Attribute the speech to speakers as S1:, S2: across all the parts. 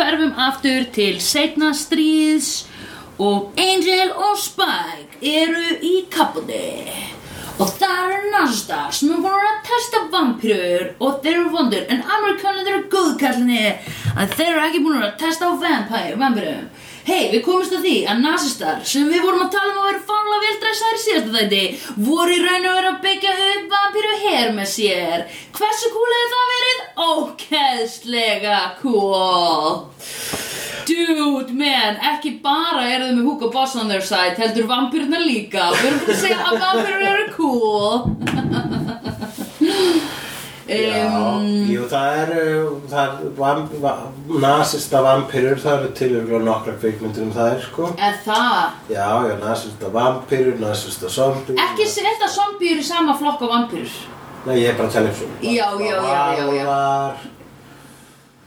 S1: aftur til seinna stríðs og Angel og Spike eru í kappunni og það er Nasdaq sem er búin að vera að testa vampýrur og þeir eru vondur en amerikanir eru góðkallinni að þeir eru ekki búin að vera að testa á vampýr, vampýrum Hei, við komumst að því að nazistar sem við vorum að tala um að vera fánlega vel dressaðir í síðasta þætti voru í raun og vera að byggja upp vampýru hér með sér Hversu cool hefði það verið? Ókeðslega cool Dude, man, ekki bara eru þau með Hugo Boss on their side, heldur vampyrna líka. Við erum búin að segja að vampyrur eru cool.
S2: Já, jú, það er, uh, það er vamp, va, nasista vampirur, það eru til yfirlega nokkra kvikmyndir um það, sko.
S1: Er það?
S2: Já, já, nasista vampirur, nasista zombie.
S1: Ekki setja zombjur í sama flokk á vampyrur.
S2: Nei, ég er bara að tala um svona.
S1: Já, já, já, já, já.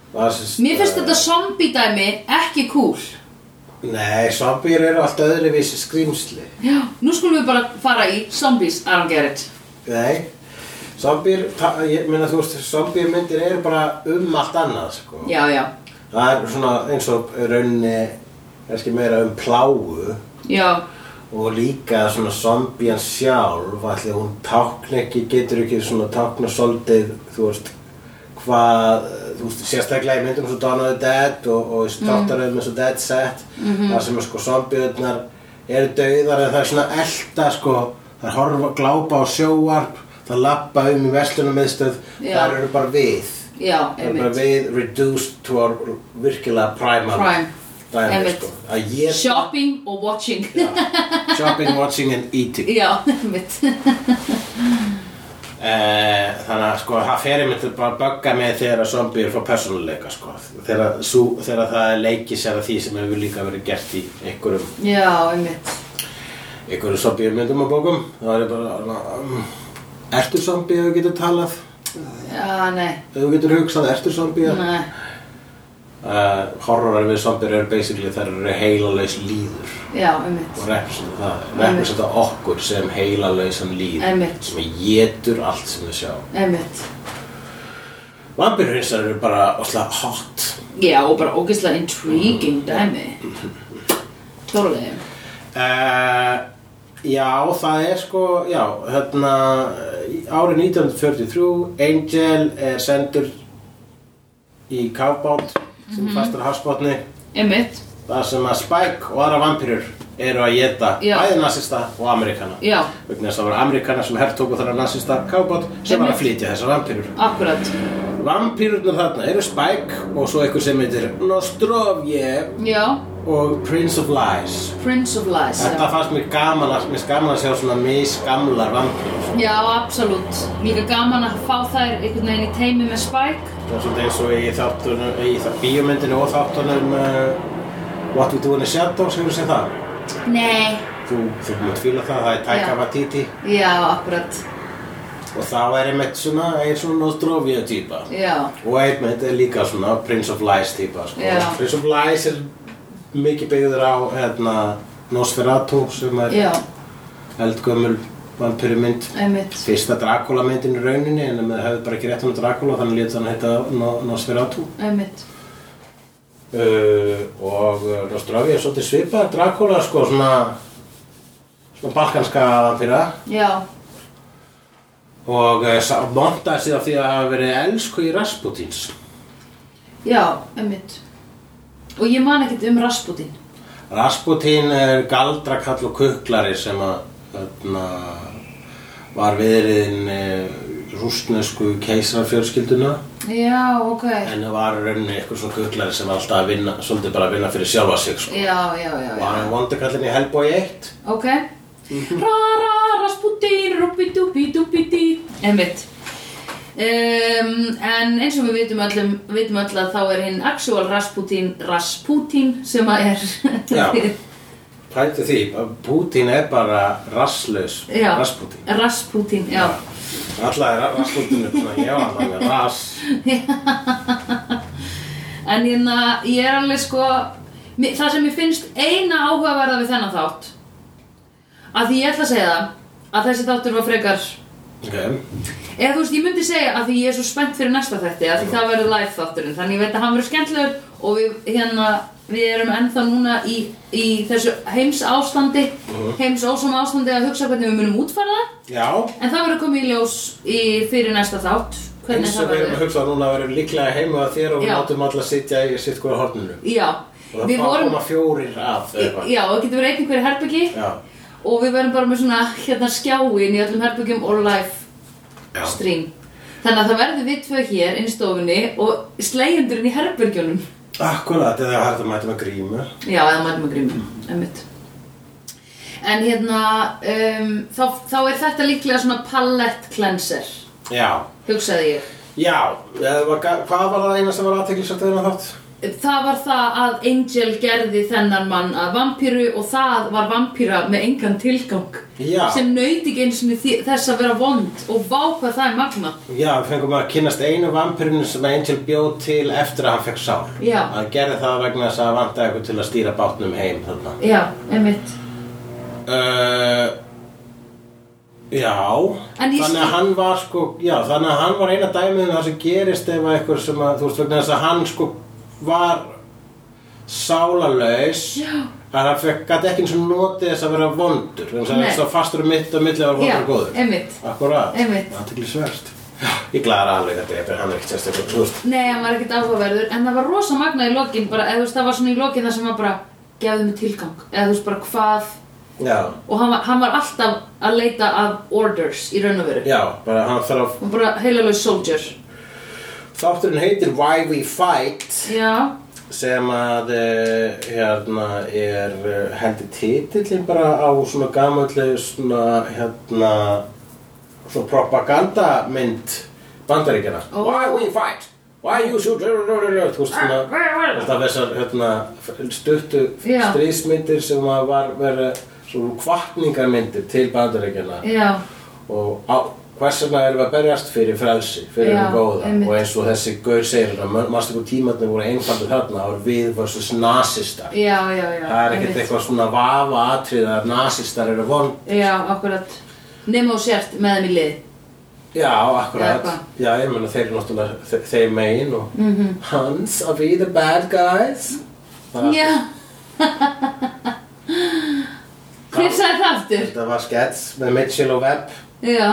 S2: Varúlfar, nasista...
S1: Mér finnst þetta zombie dæmi ekki cool.
S2: Nei, zombie eru alltaf öðruvísi skrýmsli.
S1: Já, nú skulum við bara fara í zombies, Aron Gerrit.
S2: Nei, zombie, ég meina þú veist, zombie myndir eru bara um allt annað, sko.
S1: Já, já,
S2: Það er svona eins og rauninni, kannski meira um pláu.
S1: já,
S2: og líka svona zombian sjálf ætli hún tákna ekki, getur ekki svona tákna svolítið, þú veist hvað, þú veist, sérstaklega í myndum svo Dawn of the Dead og, og mm. tátaröðum eins og Dead Set
S1: Mhm.
S2: þar sem er sko zombiðurnar eru dauðar en það er svona elta sko það er horfa, glápa á sjóvarp það lappa um í veslunarmiðstöð
S1: Já.
S2: þar eru bara við
S1: já,
S2: það eru bara
S1: einmitt.
S2: við reduced to our virkilega primal
S1: Prime.
S2: dæmi,
S1: Einmitt.
S2: sko. að ég
S1: Shopping og watching. Já,
S2: shopping, watching and eating
S1: einmitt.
S2: Eh, þannig að sko það fer einmitt bara að bögga með þegar að zombiur fá persónuleika sko þegar, sú, þegar það leiki sér að því sem hefur líka verið gert í einhverjum,
S1: Já, einmitt.
S2: einhverjum zombiurmyndum og bókum þá er ég bara svona, um, ertu zombie ef þú getur talað
S1: Já, nei,
S2: ef þú getur hugsað, ertu zombie uh,
S1: nei,
S2: horrorar við zombiur eru basically þær eru heilalaus líður
S1: já, einmitt.
S2: og representa það representa okkur sem heilalausan líður
S1: Einmitt.
S2: sem getur allt sem við sjáum
S1: Einmitt.
S2: vampirur hins vegar eru bara óslega hot
S1: Já, og bara ógeðslega intriguing dæmi. Totally.
S2: Uh, já, það er sko, já, hérna, árið 1943, Angel er sendur í kafbátt
S1: Mhm.
S2: sem mm -hmm. fastur hafsbótni,
S1: Einmitt.
S2: þar sem að Spike og aðra vampýrur eru að geta
S1: Já.
S2: bæði nasista og amerikana.
S1: Já.
S2: Vegna þess að það voru amerikana sem herrtóku þarna nasista kafbátt sem var að
S1: Einmitt.
S2: flytja þessar vampýrur.
S1: Akkurat.
S2: Vampýrurnar þarna eru Spike og svo einhver sem heitir Nostrovje
S1: Já.
S2: og Prince of Lies.
S1: Prince of Lies.
S2: Þetta
S1: Já,
S2: fannst mér gaman að, mér finnst gaman að sjá svona misgamlar vampýrur.
S1: já absolutt. Líka gaman að fá þær einhvern veginn í teimi með Spike.
S2: Það er svolítið eins og í þáttunum, í það bíómyndinu og þáttunum uh, What We Do in the Shadows, hefur séð það?
S1: Nei.
S2: Þú, þú mútt fíla það, það er Taika
S1: Já.
S2: Waititi
S1: Já, akkurat.
S2: og þá er einmitt svona, er svona Nostrovia típa
S1: Já.
S2: og einmitt er líka svona Prince of Lies típa sko.
S1: Já.
S2: Prince of Lies er mikið byggður á hérna, Nosferatu sem er
S1: Já,
S2: eldgömmul vampyrumynd
S1: einmitt.
S2: Fyrsta Dracula myndin í rauninni en það hefði bara ekki rétt hann Dracula þannig lét hann heita No- Nosferatu
S1: Einmitt.
S2: uh, og uh, Nostravia er svolítið svipað Dracula sko svona svona balkanska vampýra
S1: Já.
S2: og uh, montaði sig af því að hafa verið elsku í Rasputins
S1: Já, einmitt. Og ég man ekkert um Rasputin.
S2: Rasputin er galdrakall og kuklari sem að þarna, var viðriðin uh, rústnesku keisarafjörskilduna
S1: Já, ok.
S2: en það var í rauninni eitthvað svona kuklari sem var alltaf að vinna, svolítið bara að vinna fyrir sjálfa sig sko.
S1: Já, já, já,
S2: og
S1: já.
S2: hann er vondurkallin í Hellboy 1
S1: Ok Ra ra rasputin Rupi dupi dupi di Einmitt um, En eins og við vitum öllum Vitum öll að þá er hinn actual Rasputin Rasputin sem að er
S2: Já. Pæltu því, Putin er bara rasslaus,
S1: Já.
S2: Rasputin.
S1: Rasputin, já
S2: Alla er Rasputin upp svona, já, hann er ras.
S1: En hérna, ég er alveg sko mi- Það sem ég finnst eina áhugaverða við þennan þátt Að því ég ætla að segja það Að þessi þáttur var frekar
S2: Ok,
S1: Eða þú veist, ég myndi segja að því ég er svo spennt fyrir næsta þætti að því það verður live þátturinn þannig ég veit að hann verður skemmtilegur og við, hérna, við erum ennþá núna í, í þessu heims áslandi,
S2: Mhm.
S1: heims ósama áslandi að hugsa hvernig við munum útfæra það
S2: Já,
S1: en það verður komið í ljós í, fyrir næsta þátt hvernig
S2: eins og
S1: það
S2: við erum að
S1: verður
S2: hugsa núna verðum líklega heima að þér og við
S1: Já.
S2: látum alla sitja í sitt hverja horninu.
S1: já,
S2: Og það
S1: við
S2: fá-
S1: vorum
S2: koma fjórir að eða eitthvað.
S1: já, það getur verið einn hverju herbyggi
S2: Já.
S1: og við verðum bara með svona hérna skjáin í öllum herbyggjum og live
S2: Já.
S1: stream þannig að það verður við tvö hér inn í stofunni og slegjendurinn í herbyggjunum
S2: Akkurat, eða hægt að mæta með grímu.
S1: Já, eða mætum að grímum, einmitt. En hérna, um, þá, þá er þetta líklega svona palette cleanser,
S2: Já,
S1: hugsaði ég.
S2: já, eða var, ga- hvað var það eina sem var aðteklisvært þegar þátt?
S1: Það var það að Angel gerði þennan mann að vampíru og það var vampíra með engan tilgang
S2: Já.
S1: sem nauti ekki eins og þess að vera vond og vá hvað það er magna.
S2: Já, við fengum að kynnast einu vampirinu sem Angel bjóð til eftir að hann fekk sár.
S1: Já.
S2: Hann gerði það vegna þess að vantaði eitthvað til að stýra bátnum heim þarna.
S1: Já, einmitt.
S2: Uh, já,
S1: En ég
S2: þannig
S1: skil-
S2: að hann var sko, já, þannig að hann var eina dæmið um það sem gerist ef að eitthvað sem að, þú veist, vegna þess að hann sko var sálarlaus
S1: Já.
S2: að hann fekk, gæti ekki eins og notið þess að vera vondur, þannig að
S1: Nei.
S2: þess að fastur um mitt og milli var vondur
S1: Já,
S2: og góður.
S1: einmitt.
S2: Akkurat,
S1: Einmitt.
S2: aðtekli sverst. Ég glæðar alveg þetta, ég hann er ekkert sérstaklega, þú veist.
S1: Nei, hann var ekkert áhugaverður en það var rosa magna í lokin, bara, eða þú veist, það var svona í lokin það sem var bara, gefðu mig tilgang, eða þú veist, bara hvað
S2: Já,
S1: og hann var, hann var alltaf að leita af orders í raun og veru
S2: já, bara hann þarf að,
S1: hann var bara heilalög soldier
S2: þátturinn heitir Why We Fight.
S1: já,
S2: sem að eh, hérna er eh, heldur titillin bara á svona gamallu svona hérna svona propagandamynd bandaríkjana
S1: Ó.
S2: Why we fight? Why you shoot? Þú veist svona alltaf þessar hérna stuttu
S1: Ah, Já.
S2: stríðsmyndir sem að var verið svona kvartningarmyndir til bandaríkjana
S1: já,
S2: og á, hvers vegna erum við að berjast fyrir frelsi, fyrir
S1: Já,
S2: um góða
S1: einmitt.
S2: og eins og þessi gaur segir hérna, mástu hvað tímarnir voru einfaldur þarna og við versus nazistar
S1: já, já, já
S2: það er ekkert eitthvað svona vafa atrið að nazistar eru von
S1: já, akkurat nema og sért með þeim í lið
S2: já,
S1: Eða
S2: akkurat,
S1: hvað?
S2: já, ég meina þeir eru náttúrulega, þe- þeir megin og
S1: Mhm.
S2: Hans, are we the bad guys? Það-
S1: já hver sagði það aftur?
S2: Þetta var skets með Mitchell og Webb
S1: já,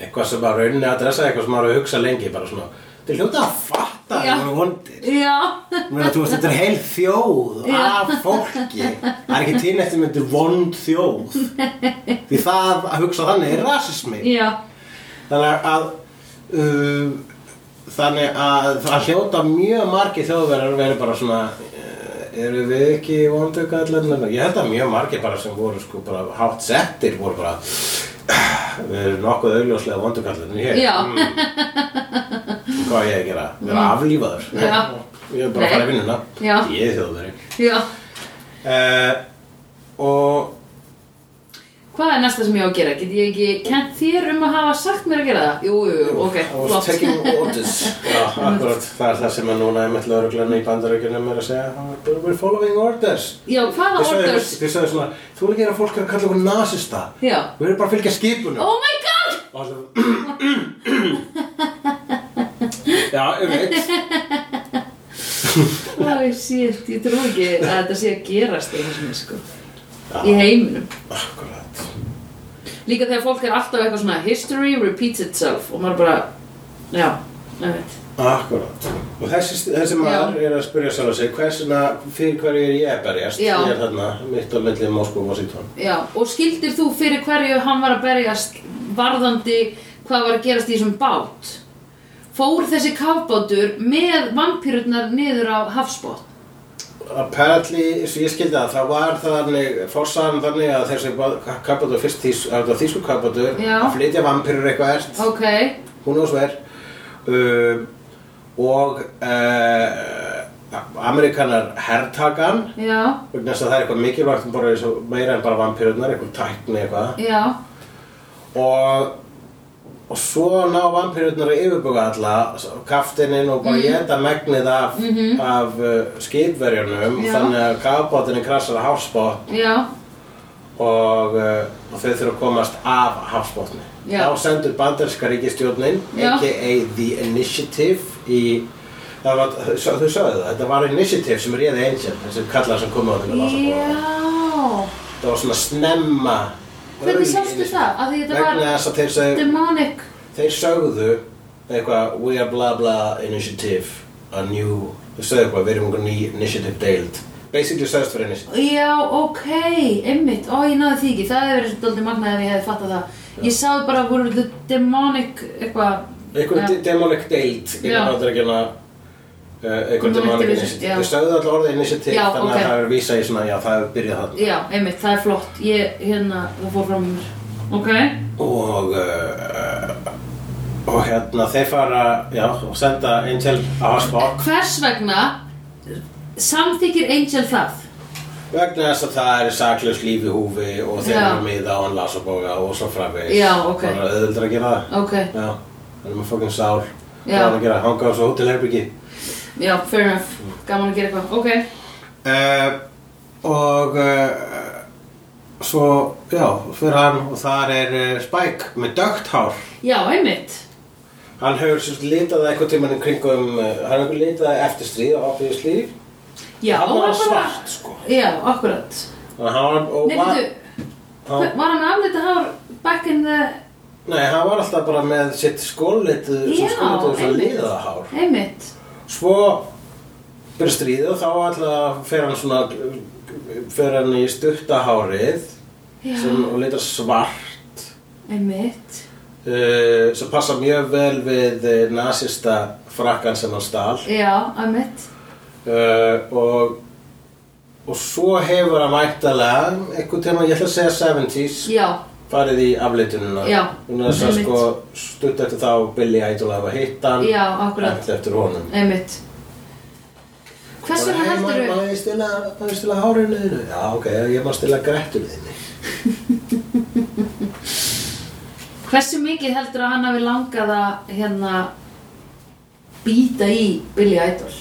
S2: eitthvað sem var rauninni að dressa eitthvað sem maður að hugsa lengi, bara svona þeir hljóta að fatta að
S1: Já.
S2: það voru vondir
S1: já
S2: Mér að þú veist, þetta er heil þjóð
S1: Já.
S2: af fólki. Það er ekki til neitt sem þetta er vond þjóð. Því það að hugsa þannig er rasismi.
S1: já,
S2: Þannig að, uh, þannig að það hljóta mjög margi þjóðverðar verið bara svona, uh, eru við ekki vondu kallarnar? Ég held að mjög margi bara sem voru sko bara hátt settir voru bara, "Eh, við erum nokkuð augljóslega vondu kallarnar hér.
S1: Já. Mm.
S2: Mm. Hvað á ég að gera? Vera aflífaður?
S1: Já.
S2: Ég er bara
S1: Nei.
S2: að fara í vinnuna.
S1: Já.
S2: Ég er þjóðverði.
S1: já
S2: Uh, og
S1: Hvað er næsta sem ég á að gera? Get ég ekki kent þér um að hafa sagt mér að gera það? Jú, jú, jú, ok,
S2: I was taking orders Já, akkurat, það er það sem er núna einmitt lauruglan í bandaríkjunum er að segja "Ah, We're following orders
S1: Já, hvaða
S2: Þið sögðu-
S1: orders?
S2: Þið sögðu svona, þú vil gera fólk er að kalla okkur nasista
S1: Já.
S2: Við erum bara að fylgja skipunum
S1: Oh my god!
S2: Og það Já, um eitt
S1: Það er síðan, ég trú ekki að þetta sé að gerast í þessum, sko, í
S2: Já,
S1: heiminum.
S2: akkurat
S1: Líka þegar fólk er alltaf eitthvað svona history repeats itself og maður bara, já, ég veit.
S2: Akkurat. Og þessi, þessi maður er að spyrja sjálf sig, hversina, fyrir hverju er ég að berjast?
S1: Já.
S2: Ég er þarna, mitt á milli Moskva og Washington.
S1: Já, og skildir þú fyrir hverju hann var að berjast varðandi hvað var að gerast í þessum bát? Fór þessi kafbátur með vampýrurnar niður á hafsbót?
S2: Apparently, eins og ég skildi það, það var þannig, fórsaðan þannig að þessi kappatur, fyrst þýs, að þetta var þýsku kappatur,
S1: Já.
S2: að flytja vampirur eitthvað ert,
S1: Ok,
S2: hún og sver, um, og uh, amerikanar herrtakan,
S1: já,
S2: vegna þess að það er eitthvað mikilvægt, bara, eins og- meira en bara vampirurnar, eitthvað tækni eitthvað,
S1: já,
S2: og, og svo ná vampirurnar að yfirbuga alla, kaftininn og
S1: Mhm.
S2: bara geta megnið af, af uh, skipverjunum,
S1: Já.
S2: þannig að kafbátinni krasar að hafsbót,
S1: já,
S2: og, uh, og þau þurfa að komast af hafsbótni.
S1: Já.
S2: Þá sendur bandarinska ríkistjórnin,
S1: Já.
S2: a.k.a. The Initiative, í það var, svo- þau sögðu það, þetta var initiative sem réði Angel, þessi kallar sem kom á þennan ásakóla.
S1: Já.
S2: Það var svona snemma.
S1: Hvernig sástu það? Af því þetta var-
S2: Vegna þess að þeir sögðu,
S1: Demonic.
S2: þeir sögðu eitthvað, we are blah blah initiative, a new, þau sögðu eitthvað, við erum einhver ný initiative deild. Basically sögðust fyrir initiative.
S1: Já, ok, einmitt. Ó, ég náði því ekki. Það hefur verið doldið magnað ef ég hefði fattað það. Ég sá bara voru the demonic eitthvað.
S2: Einhver de- demonic deild,
S1: Já.
S2: einhver bandaríkjana, uh, einhver
S1: Nú,
S2: demonic
S1: eftir-
S2: initiative.
S1: já.
S2: Þau sögðu alltaf orðið initiative,
S1: Já,
S2: þannig
S1: ok.
S2: að það er vísa í svona, já, það hefur byrjað þarna.
S1: Já, einmitt, það er flott. Ég, hérna, það fór fram mér. Ok.
S2: og uh, og hérna þeir fara já, og senda Angel á hans bók
S1: Hvers vegna samþykir Angel það?
S2: vegna þess að það er saklaus líf í húfi og þeir
S1: Já.
S2: eru miða og hann las og bóka og svo framvegis
S1: Já, ok.
S2: bara auðvöldur að gera það
S1: Ok,
S2: já, hann er með fokkin sál
S1: Já.
S2: hvað er hann að gera, hanga á svo hótelherbyggi
S1: já, fair enough. Gaman að gera eitthvað. Ok.
S2: uh, og uh, svo, já, fyrir hann og þar er uh, Spike með dögt hár
S1: Já, einmitt.
S2: hann hefur sérst litað það eitthvað tímann í kringum uh, hann hefur litað það eftir stríð og obviously
S1: Já,
S2: Hann var
S1: bara-
S2: svart, sko.
S1: Já, akkurat.
S2: Þannig að hann var, og
S1: Nei,
S2: var,
S1: veitu,
S2: hann,
S1: var hann með aflita hár back in the...
S2: nei, hann var alltaf bara með sitt skóllitið,
S1: Já,
S2: svo skóllitið og svo
S1: einmitt.
S2: liðaða hár.
S1: Einmitt.
S2: Svo byrja stríðið og þá alltaf fer hann svona, fer hann í stutta hárið
S1: Já.
S2: sem, og litar svart
S1: Einmitt.
S2: uh, sem passa mjög vel við eh, nasista frakkan sem hann stal
S1: Já, einmitt.
S2: uh, og og svo hefur hann mættalega einhvern tíma, ég ætla að segja 70s
S1: Já,
S2: farið í afleitununa
S1: Já,
S2: hún er svo
S1: einmitt.
S2: sko stutt eftir þá Billy Idol hafa hitt hann
S1: Já, akkurat.
S2: Ætli eftir honum
S1: einmitt. Hvers vegna heldurðu?
S2: maður stila, maður stila hárinu þínu já ok, ég maður stila grættinu þínu
S1: Hversu mikið heldur að hann hafi langað að hérna býta í Billy Idol?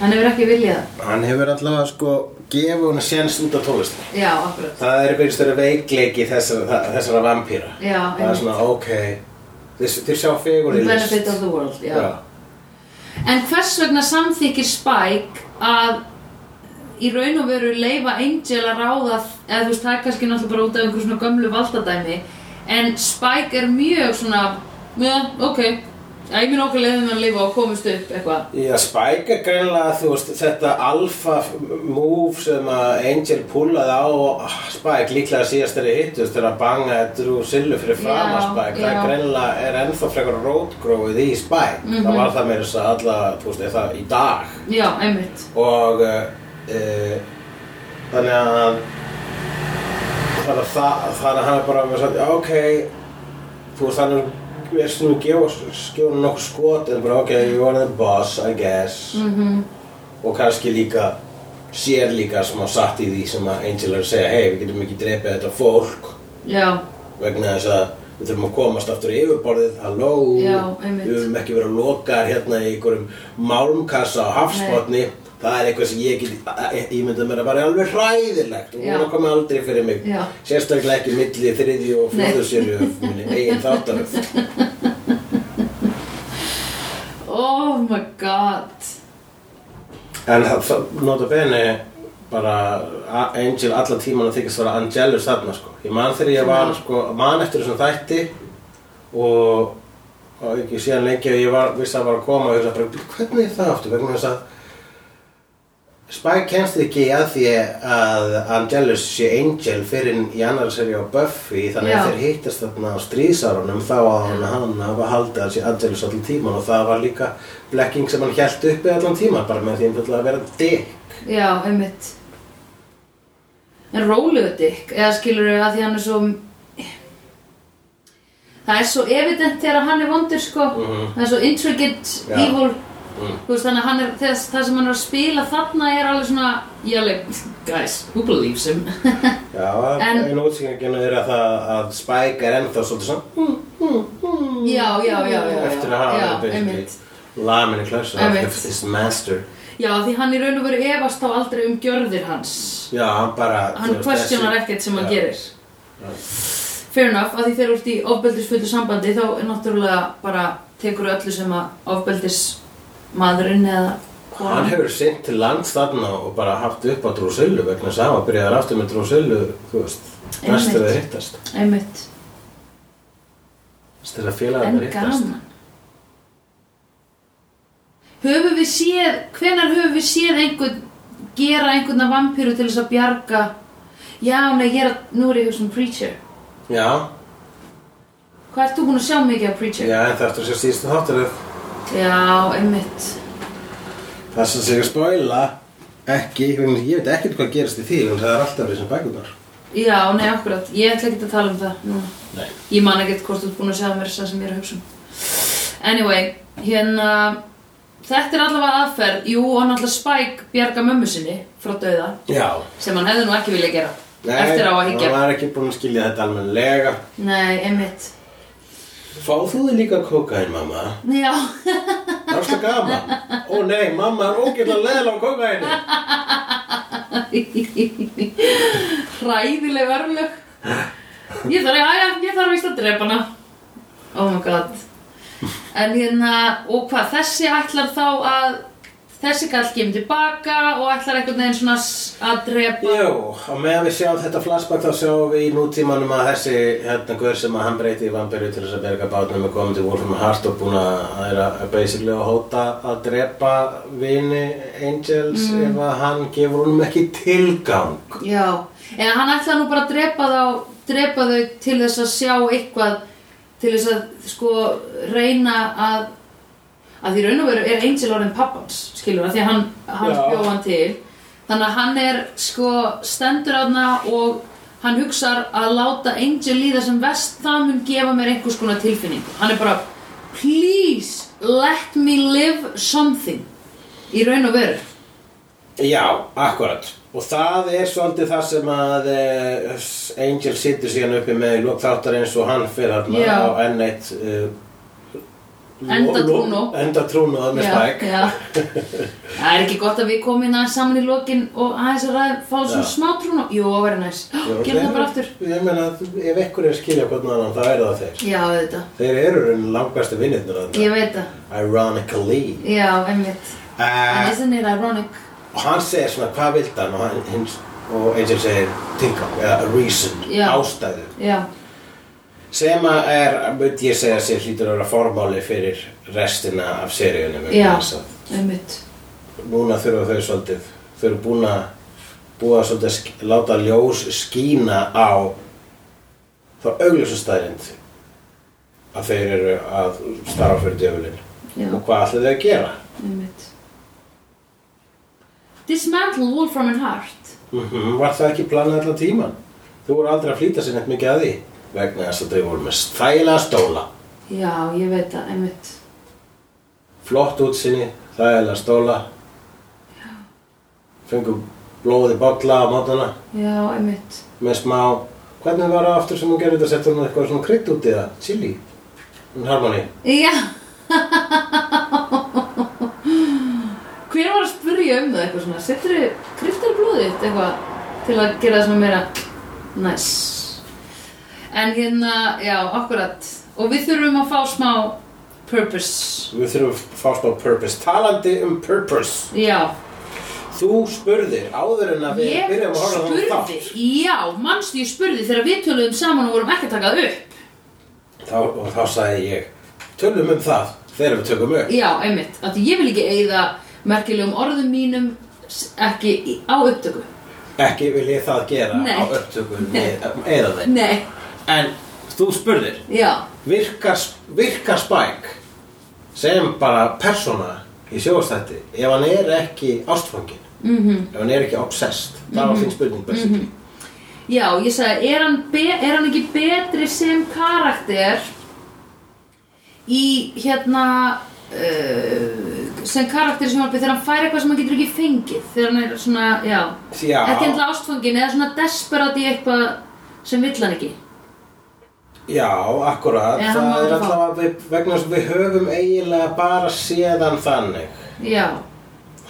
S1: Hann hefur ekki viljað. það.
S2: hann hefur allavega sko gefið hún að séns út af tólistin
S1: Já, akkurat.
S2: það er byrjast þeirra veikleiki þessara, það- þessara vampýra
S1: Já,
S2: það er
S1: einmitt.
S2: svona ok þeir, þeir sjá fegur í
S1: Benefit of the world, já.
S2: já.
S1: En hvers vegna samþykir Spike að í raun og veru leifa Angel að ráða eða þú veist, það er kannski náttúrulega bara út af einhver svona gömlu valdadæmi en Spike er mjög svona já, ok, já, ég minn okkur leiðum um að lifa og komist upp eitthvað
S2: Já, Spike er greinlega, þú veist, þetta alfa move sem að Angel pullaði á ah, Spike líklega síðast þegar þið hittust þegar að banga Drew Sillu fyrir fram að
S1: Já,
S2: Spike
S1: já.
S2: það greinlega er ennþá frekar rótgróið í Spike það
S1: Mhm.
S2: var það meira þess að alla, þú veist, er það í dag
S1: já, einmitt,
S2: og uh, uh, þannig að þannig að það þannig að hann er bara með sagt, já ok þú veist hann er við erum svona að gefa skjóna nokkuð skot en bara ok, you are the boss I guess -hmm. og kannski líka sér líka smá satt í því sem að Angel er að segja hei, við getum ekki drepið þetta fólk
S1: já,
S2: vegna þess að við þurfum að komast aftur í yfirborðið, halló
S1: Já, einmitt.
S2: við höfum ekki verið að loka hérna í einhverjum málmkassa á hafsbotni það er eitthvað sem ég get eh, ímyndað mér að bara er alveg hræðilegt og
S1: Já.
S2: hún komið aldrei fyrir mig
S1: Já.
S2: sérstaklega ekki milli þriðju og
S1: Nei.
S2: fjóðu sérju minni eigin þáttaröf
S1: oh my god
S2: en það- það nota bene bara A- Angel allan tíman að þykist vera Angelus þarna sko ég man þegar ég var
S1: Já.
S2: sko man eftir þessum þætti og, og ekki síðan lengi að ég var vissi að það var að koma og ég sagði bara hvernig er það aftur vegna þess að Spike kennst ekki að því að Angelus sé Angel fyrir í annar seri á Buffy þannig
S1: Já.
S2: að þeir hittast þarna á stríðsárunum þá að hann, hann hafa haldið að sé Angelus allan tíman og það var líka blekking sem hann hjælt uppi allan tíman bara með því einfallega að vera dick
S1: já, einmitt en rólegur Dick eða skilur þau að því hann er svo það er svo evident þegar hann er vondur sko
S2: Mhm.
S1: það er svo intricate,
S2: Já.
S1: evil
S2: Mm.
S1: þú veist þannig að hann er, þess, það sem hann er að spila þarna er alveg svona ég alveg, guys, who believes him
S2: Já,
S1: En-
S2: einu útsýkingin er að það að Spike er ennþá svolítið svona "Hmm,
S1: já, já, já, já, já
S2: eftir að hafa
S1: já,
S2: verið
S1: einmitt.
S2: basically lamin í klössu
S1: Einmitt.
S2: eftir this master
S1: já, því hann í raun og veru efast á aldrei um gjörðir hans
S2: Já, hann bara þú
S1: hann
S2: veist,
S1: questionar
S2: þessi-
S1: ekkert sem hann
S2: Já.
S1: gerir fair enough, að því þegar þú ert í ofbeldisfullu sambandi þá er náttúrulega bara tekur öllu sem að ofbeldis maðurinn eða
S2: Hann
S1: konan.
S2: hefur sinnt til lands þarna og bara haft upp á Drúsillu vegna þess að hann var byrjaðar aftur með Drúsillu, þú veist, næst þegar
S1: Einmitt.
S2: þeir hittast.
S1: Einmitt.
S2: Næst þegar
S1: En
S2: félagarnir hittast.
S1: gaman. Höfum við séð, hvenar höfum við séð einhvern, gera einhvern að vampíru til þess að bjarga? Já, nei, ég er að, nú er ég hugsa um Preacher.
S2: Já,
S1: Hvað ert þú búin að sjá mikið af Preacher?
S2: já, en það eftir að sé síðustu þáttaröð.
S1: Já, einmitt.
S2: Það sem segir spoila, ekki, vegna þess að ég veit ekkert hvað gerist í því, en það er alltaf þessum bækunar.
S1: Já, nei, akkurat. Ég ætla ekki að tala um það nú.
S2: Nei.
S1: Ég man ekkert hvort þú ert búin að segja mér það sem ég er að hugsa um. Anyway, hérna, þetta er allavega aðferð. Jú, og náttúrulega Spike bjarga mömmu sinni frá dauða,
S2: Já.
S1: sem hann hefði nú ekki viljað gera.
S2: Nei,
S1: eftir á að higgja.
S2: hann var ekki búin að skilja þetta almennilega.
S1: Nei, einmitt.
S2: Fáð þú þig líka kókain, mamma?
S1: Já,
S2: Það er svo gaman. Ó nei, mamma er ógætla leðal á kókainu.
S1: hræðileg örlög. Ég þarf, já, já, ég þarf víst að drepa hana. Oh my god. En hérna, og hvað, þessi ætlar þá að, þessi gall kemur tilbaka og ætlar einhvern veginn svona s- að drepa.
S2: Jú, á meðan við sjáum þetta flashback þá sjáum við í nútímanum að þessi hérna guður sem að hann breyti í vampiru til þess að berga bátnum er komin til Wolfram Hart og búin að það er að basically að hóta að drepa vini Angels ef að hann gefur honum ekki tilgang.
S1: Já, eða hann ætlar nú bara að drepa þá, drepa þau til þess að sjá eitthvað, til þess að sko reyna að, að því raun og veru er Angel orðin pappans, skilur það, því að hann, hann
S2: Já.
S1: bjó hann til. Þannig að hann er sko stendur aðna og hann hugsar að láta Angel líða sem vest, það mun gefa mér einhvers konar tilfinningu. Hann er bara, please let me live something, í raun og veru.
S2: Já, akkurat. Og það er svolítið það sem að eh, Angel situr síðan uppi með í lók þáttar eins og hann fyrir hann
S1: Já.
S2: á enn eitt uh,
S1: Endatrúnó.
S2: Endatrúnu með Spike.
S1: já. Það er ekki gott að við komum inn aðeins saman í lokin og aðeins að ræða, fá svona
S2: Já.
S1: smá trún og... Jú, það verður næs. Gerum það bara aftur.
S2: Ég meina, ef einhver er að skilja hvernig annan, það er það þeir.
S1: Já, þetta.
S2: Þeir eru raunin langbæstu vinnirnir þarna.
S1: Ég veit það.
S2: Ironically.
S1: Já, einmitt. En
S2: Uh,
S1: isn't it ironic?
S2: og hann segir svona, hvað vilt hann? Og, hann, hins, og eins og segir tilgang, eða a reason,
S1: Já.
S2: ástæðu.
S1: Já,
S2: Sem að er, myndi ég segja, sér hlýtur að vera formáli fyrir restina af seríunum. vegna
S1: Já.
S2: þess að
S1: einmitt.
S2: Núna þurfa þau svolítið, þau eru búin að búa svolítið að sk- láta ljós skína á þá augljósastæðind að þeir eru að starfa fyrir djöfulinn.
S1: Já,
S2: Og hvað ætlaðu þau að gera?
S1: einmitt. Dismantle Wolfram and Hart.
S2: Mm Var það ekki planað allan tíman? Þú voru aldrei að flýta sér neitt mikið að því vegna þess að þau voru með þægilega stóla.
S1: Já, ég veit það, einmitt.
S2: Flott útsinni, þægilega stóla. Fengum blóði bolla á mótana
S1: Já, einmitt.
S2: með smá... Hvernig var það aftur sem hún gerði þetta? Settu hún eitthvað svona krydd út í það? Chili? Hún harmoni?
S1: Já. Hver var að spyrja um það eitthvað svona? Settur þið kryftar blóðið þitt eitthvað til að gera það svona meira næs. En hérna, já, akkurat. Og við þurfum að fá smá purpose.
S2: Við þurfum að fást á purpose. Talandi um purpose.
S1: Já,
S2: Þú spurðir áður en að við
S1: ég
S2: byrjum að horfa á þann
S1: spurði,
S2: þátt.
S1: já, mannstu ég spurði þegar við töluðum saman og vorum ekki að taka það upp.
S2: Þá, og þá sagði ég, tölum um það þegar við tökum upp.
S1: Já, einmitt, af því ég vil ekki eigða merkilegum orðum mínum s- ekki í- á upptöku.
S2: Ekki vil ég það gera
S1: Nei.
S2: á upptökum eða þeim.
S1: Nei,
S2: En þú spurðir,
S1: já.
S2: virkar, virkar Spike sem bara persóna í sjóðastætti ef hann er ekki ástfangin, -hmm.
S1: Mhm.
S2: ef hann er ekki obsessed, það var þín spurning basically.
S1: Já, ég sagði, er hann, be, er hann ekki betri sem karakter í hérna uh, sem karakter sem hann þegar hann fær eitthvað sem hann getur ekki fengið þegar hann er svona, já,
S2: Já.
S1: ekki endla ástfangin eða svona desperat í eitthvað sem vill hann ekki
S2: Já, akkurat,
S1: Eða hann má
S2: það er
S1: ekki fá.
S2: alltaf við, vegna þess að við höfum eiginlega bara séðan þannig.
S1: Já,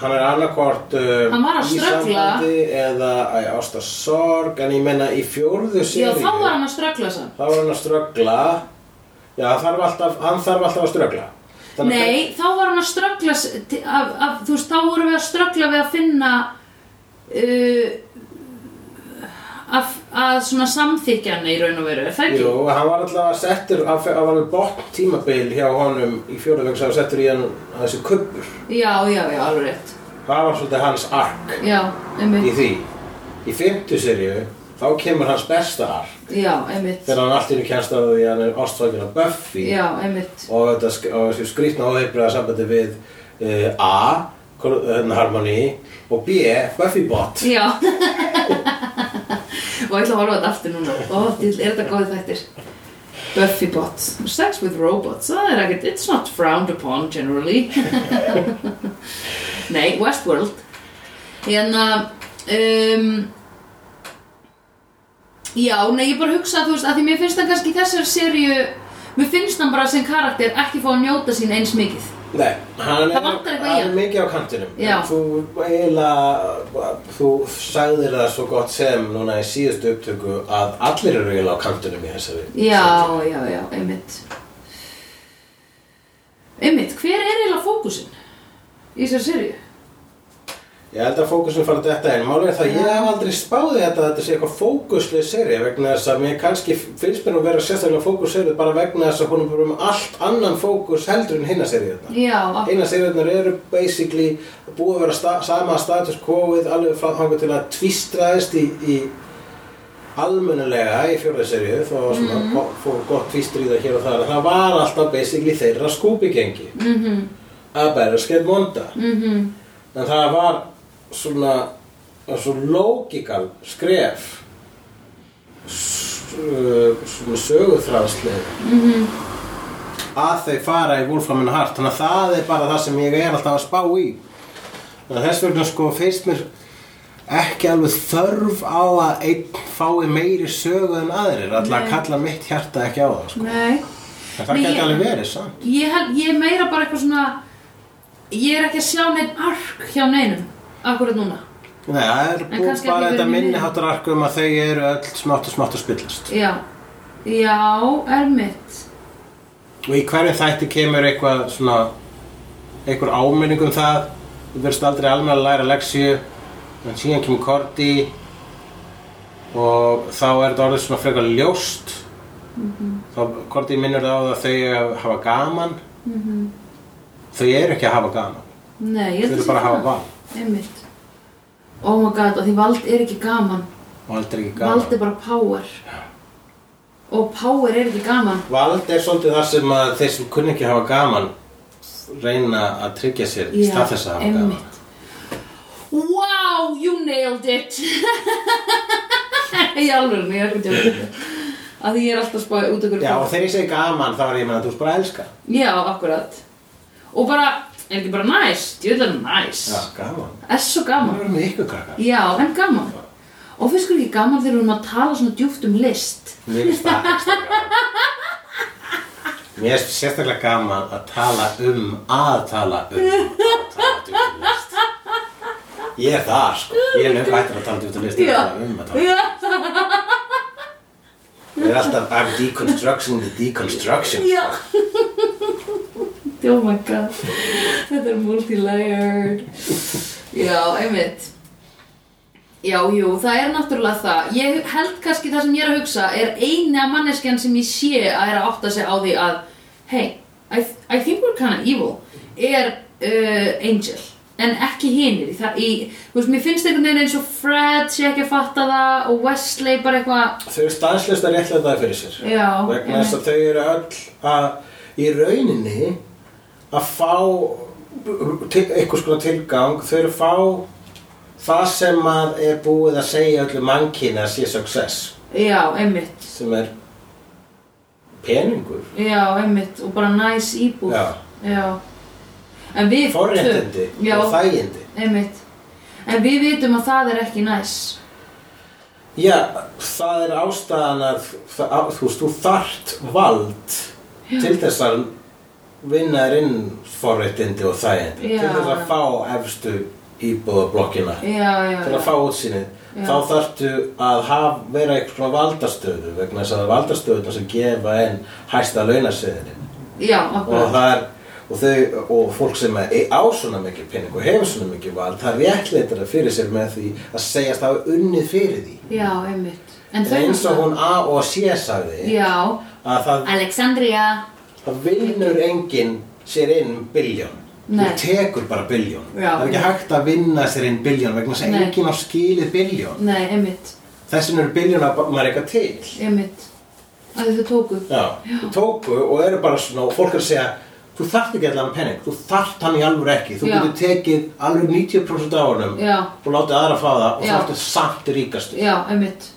S2: Hann er annarkvort um,
S1: Hann var að
S2: í
S1: ströggla.
S2: sambandi eða æ, ástarsorg, en ég menna í fjórðu
S1: já
S2: seríu.
S1: þá var hann að ströggla sann
S2: Þá var hann að ströggla Já, þarf alltaf, hann þarf alltaf að ströggla Þannig að-
S1: Nei, þá var hann að ströggla s- til- af, af, þú veist, þá vorum við að ströggla við að finna uh, að, að svona samþykja hann í raun og veru, er það ekki?
S2: Jú, hann var alltaf settur, hann fe- hann var alveg botn tímabil hjá honum í fjóruðveg sem hann settur í hann að þessi kubbur.
S1: Já, já, já, alveg rétt
S2: Það var svolítið hans ark
S1: Já,
S2: í
S1: einmitt,
S2: því. Í fymtu serju, þá kemur hans besta ark
S1: já, einmitt
S2: þegar hann allt innu kjænst af því að hann er ástfækjur af Buffy
S1: Já, einmitt
S2: og þetta sk- og þessi skrýtna óheilbriða sambandi við uh, A, Cor- hérna, Harmony og B, Buffybot.
S1: Já Og ég ætla að horfa á þetta aftur núna Ó, dýl, er þetta góðið þættir Buffy bot, sex with robots Það er ekkert, it's not frowned upon generally Nei, Westworld Hérna um, Já, nei, ég bara hugsa þú veist, að því mér finnst það kannski í þessari serju Mér finnst hann bara sem karakter ekki fá að njóta sín eins mikið
S2: Nei, hann
S1: Það
S2: er,
S1: vantar eitthvað í
S2: hann er
S1: hann.
S2: mikið á kantinum
S1: Já.
S2: En Þú eiginlega, þú sagðir það svo gott sem núna í síðustu upptöku að allir eru eiginlega á kantinum í þessari
S1: Já, já, já, einmitt Einmitt, hver er eiginlega fókusinn í þessari serju?
S2: Ég held að fókusin fara þetta einn Málið er það, að ég hef aldrei spáði þetta að þetta sé eitthvað fókuslega serið vegna þess að mér kannski finnst mér að vera sérstaklega fókusserið bara vegna þess að hún er bara um allt annan fókus heldur en hinna serið þetta
S1: Já, ah, af-
S2: Eina seriðunar eru basically búið að vera sta sama status quo-ið alveg frá þangað til að tvistraðist í, í almennilega í fjórða seriðu þó að svona mm -hmm. fór gott tvistriða hér og þar en það var alltaf basically þeirra skúpigengi mm -hmm. að bæra skeitt monda mm
S1: mhm,
S2: en það var svona það var svo logikal skref s- uh, svona söguþræðslega
S1: Mhm.
S2: að þau fara í Wolfram and Heart þannig að það er bara það sem ég er alltaf að spá í þannig að þess vegna sko finnst mér ekki alveg þörf á að einn fái meiri sögu en aðrir alltaf
S1: Nei.
S2: að kalla mitt hjarta ekki á það sko.
S1: nei
S2: en það
S1: Nei,
S2: gæti
S1: ég-
S2: alveg verið samt
S1: Ég, held, ég er meira bara eitthvað svona Ég er ekki að sjá neinn ark hjá neinum Akkurat núna
S2: Nei, það er búið
S1: kannski
S2: bara
S1: ekki
S2: þetta
S1: verið
S2: minni
S1: minni.
S2: hátar arkum að þau eru öll smátt og smátt að spillast
S1: Já, já, einmitt
S2: og í hverju þætti kemur eitthvað svona einhver áminning um það þú verðst aldrei alveg að læra leksíu en síðan kemur Korti og þá er þetta orðið svona frekar ljóst
S1: Mhm.
S2: þá Korti minnur það á það að þau hafa gaman þau eru ekki að hafa gaman
S1: Nei, Mhm. ég
S2: þau
S1: held
S2: eru
S1: sé
S2: bara að hafa
S1: það.
S2: val
S1: Einmitt Oh my god, og því vald er ekki gaman
S2: og aldrei ekki gaman
S1: Vald er bara power Og power er ekki gaman
S2: Vald er svolítið þar sem að þeir sem kunni ekki að hafa gaman reyna að tryggja sér í stað þess að hafa gaman
S1: einmitt. Wow, you nailed it Í alveg, ég er ekki tjóðið Að því ég er alltaf að spáði út okkur
S2: Já, og þegar ég segi gaman þá er ég að meina að þú ert bara að elska
S1: Já, akkurat Og bara, er ekki bara næs, djöðlega næs
S2: Já, gaman
S1: Er svo gaman
S2: Það er með ykkur krakkar.
S1: Já, en gaman Og finnst ykkur ekki gaman þegar við erum að tala svona djúpt um list
S2: Mér finnst það sérstaklega gaman. Mér finnst sérstaklega gaman að tala um, að tala um, að tala út um list. Ég er það, sko. Ég er löngu hættur að tala út um list, ég er að tala um að tala.
S1: Já,
S2: Ég er alltaf, I'm deconstructing the deconstruction.
S1: já Oh my god Þetta er multi-layered Já, einmitt Já, jú, það er náttúrulega það Ég held kannski það sem ég er að hugsa er eina manneskjan sem ég sé að er að átta sig á því að Hey, I, I think we're kinda evil er uh, Angel en ekki hinir í, það- í, þú veist, mér finnst einhvern veginn eins og Fred sé ekki að fatta það og Wesley bara eitthvað
S2: Þau eru stanslust að réttlega það fyrir sér.
S1: Já,
S2: Vegna þess að þau eru öll að í rauninni að fá til, einhvers konar tilgang, þau eru að fá það sem að er búið að segja öllu mannkynni að sé success.
S1: Já, einmitt
S2: sem er peningur
S1: Já, einmitt, og bara næs íbúð
S2: Já.
S1: Já. En við
S2: forréttindi
S1: Já,
S2: og þægindi
S1: einmitt En við vitum að það er ekki næs
S2: já, það er ástæðan að það, á- þú veist, þú þart vald til þess að vinna þér inn forréttindi og þægindi
S1: Já.
S2: til þess að fá efstu íbúðablokkina
S1: Já, já,
S2: til að
S1: já
S2: fá útsýnið
S1: Já.
S2: þá þarftu að haf, vera einhvers konar valdastöðu vegna þess að það er valdastöðuna sem gefa enn hæsta launasöðininn
S1: Já,
S2: og
S1: akkurat
S2: það er og, þau, og fólk sem er á svona mikið pening og hefur svona mikið val það réttleitar það fyrir sér með því að segjast að hafa unnið fyrir því
S1: já, einmitt en þau
S2: eins og hún A og C sagði
S1: já,
S2: að það,
S1: Alexandria
S2: það vinnur enginn sér inn biljón
S1: Nei.
S2: þú tekur bara biljón
S1: Já.
S2: það er ekki hægt að vinna sér inn biljón vegna þess að
S1: Nei.
S2: enginn á skilið biljón
S1: nei, einmitt,
S2: þess vegna eru biljón að maður er eitthvað til
S1: einmitt að þau tóku
S2: Já, þú tóku og eru bara svona og fólk er að segja þú þarft ekki allan penning, þú þarft hann í alveg ekki þú
S1: Já.
S2: getur tekið alveg 90% á honum
S1: Já.
S2: og látið aðra fá það og
S1: Já.
S2: þá ertu samt ríkastu
S1: já, einmitt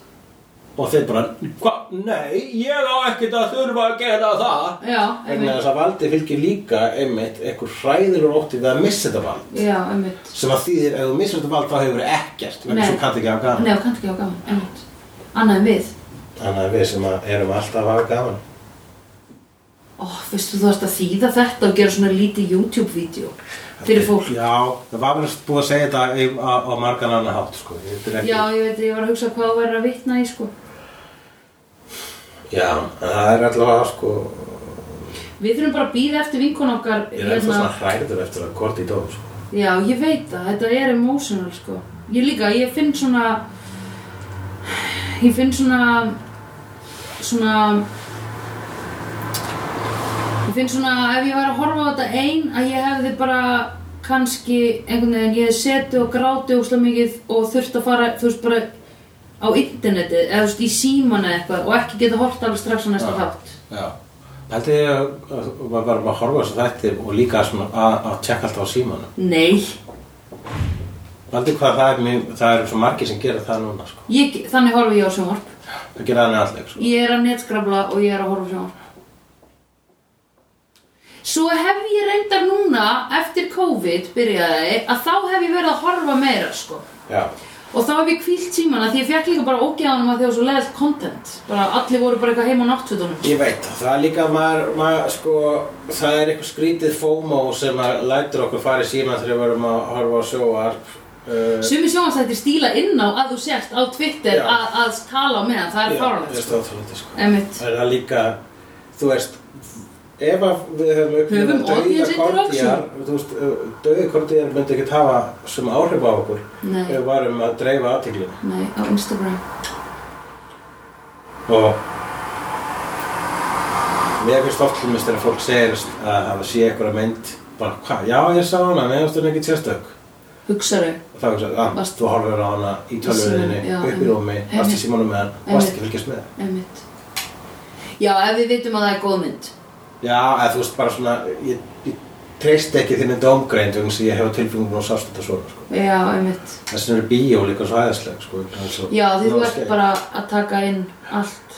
S2: og þeir bara, hva? Nei, ég á ekkert að þurfa að gera það
S1: já,
S2: vegna
S1: einmitt,
S2: þess að valdi fylgir líka einmitt einhver hræðilur ótti við að missa þetta vald
S1: já, einmitt
S2: sem að þýðir ef þú missir þetta vald þá hefur ekkert vegna
S1: Nei.
S2: svo kannt ekki að hafa
S1: nei,
S2: gaman
S1: og kannski á gaman, einmitt annað en við
S2: þannig að við sem að erum alltaf að hafa gaman
S1: Ó, veistu þú þarfst að þýða þetta og gera svona lítið YouTube-vídeó fyrir fólk.
S2: Já, það var verið búið að segja þetta í- á, á margan annan hátt sko. Þetta er ekki-
S1: Já, ég veit, ég var að hugsa hvað þú verður að vitna í, sko.
S2: Já, en það er allavega sko
S1: Við þurfum bara að býða eftir vinkun okkar, hérna.
S2: Ég er eftir svona hræður eftir að korti í dóm sko.
S1: Já, ég veit það, þetta er emotional, sko. Ég líka, ég finn svona, ég finn svona, svona, ég finn svona, ef ég var að horfa á þetta ein, að ég hefði bara kannski, einhvern veginn, ég hefði setið og grátið úrslega mikið og þurft að fara, þú veist, bara á internetið, eða þú veist, í síman eða eitthvað og ekki geta hort alveg strax á næsta
S2: Já.
S1: þátt.
S2: Já Pældi ég að að- var bara að horfa á þessu þætti og líka svona að, að tjekka alltaf á símanum
S1: Nei,
S2: Pældi hvað það er, mjög, það eru svo margir sem gera það núna sko.
S1: ég, þannig horfi ég á sjónvarp.
S2: Það gera það neðalleg sko.
S1: Ég er að netskrafla og ég er að horfa á sjónvarp. Svo hef ég reyndar núna, eftir COVID byrjaði, að þá hef ég verið að horfa meira, sko.
S2: Já,
S1: Og þá hef ég kvílt símana því ég fekk líka bara ógæðanum að því að svo leðilt content. Bara allir voru bara eitthvað heima á náttfötunum.
S2: ég veit það Það er líka maður, maður sko það er eitthvað skrítið FOMO sem að lætur okkur fara í síman þegar við verum að horfa á sjóarp uh,
S1: Sumi sjónvarstættir stíla inn á að þú sért á Twitter
S2: Já.
S1: að, að tala á meðan, það er
S2: Já,
S1: fáránlegt,
S2: ég
S1: sko.
S2: stóð fyrir þetta, sko.
S1: Emitt.
S2: Það er það líka, þú veist, ef að við höfum upplifað
S1: Höfum audience
S2: kordýjar,
S1: interaction.
S2: þú veist, uh, döði kordýjar myndi ekkert hafa sem áhrif á okkur
S1: Nei.
S2: ef við varum að dreifa aðtíklinu
S1: Nei, á Instagram.
S2: og mér finnst oft hlumist þegar fólk segir að hafa sé eitthvað mynd bara, hvað, já ég sá hana, mér finnst hún ekki sérstök
S1: Hugsaðu.
S2: og þá hugsaði, að
S1: Varst-
S2: ah, þú horfir á hana í tölvöðinni,
S1: Já,
S2: upp í
S1: einmitt.
S2: rúmi, varst í
S1: Einmitt.
S2: símanum með hann, varst ekki að fylgjast með
S1: Emitt. Já, ef við vitum að það er góð mynd.
S2: Já, eða þú veist bara svona, ég, ég treyst ekki þinni domgreind vegna sem ég hef á tilfengum búin að sást þetta svona, sko.
S1: Já, emitt.
S2: Þess vegna eru bíó líka svo aðeinsleg, sko. vegna þess að-
S1: Já, því þú
S2: Ná,
S1: ert
S2: skemmt.
S1: bara að taka inn allt.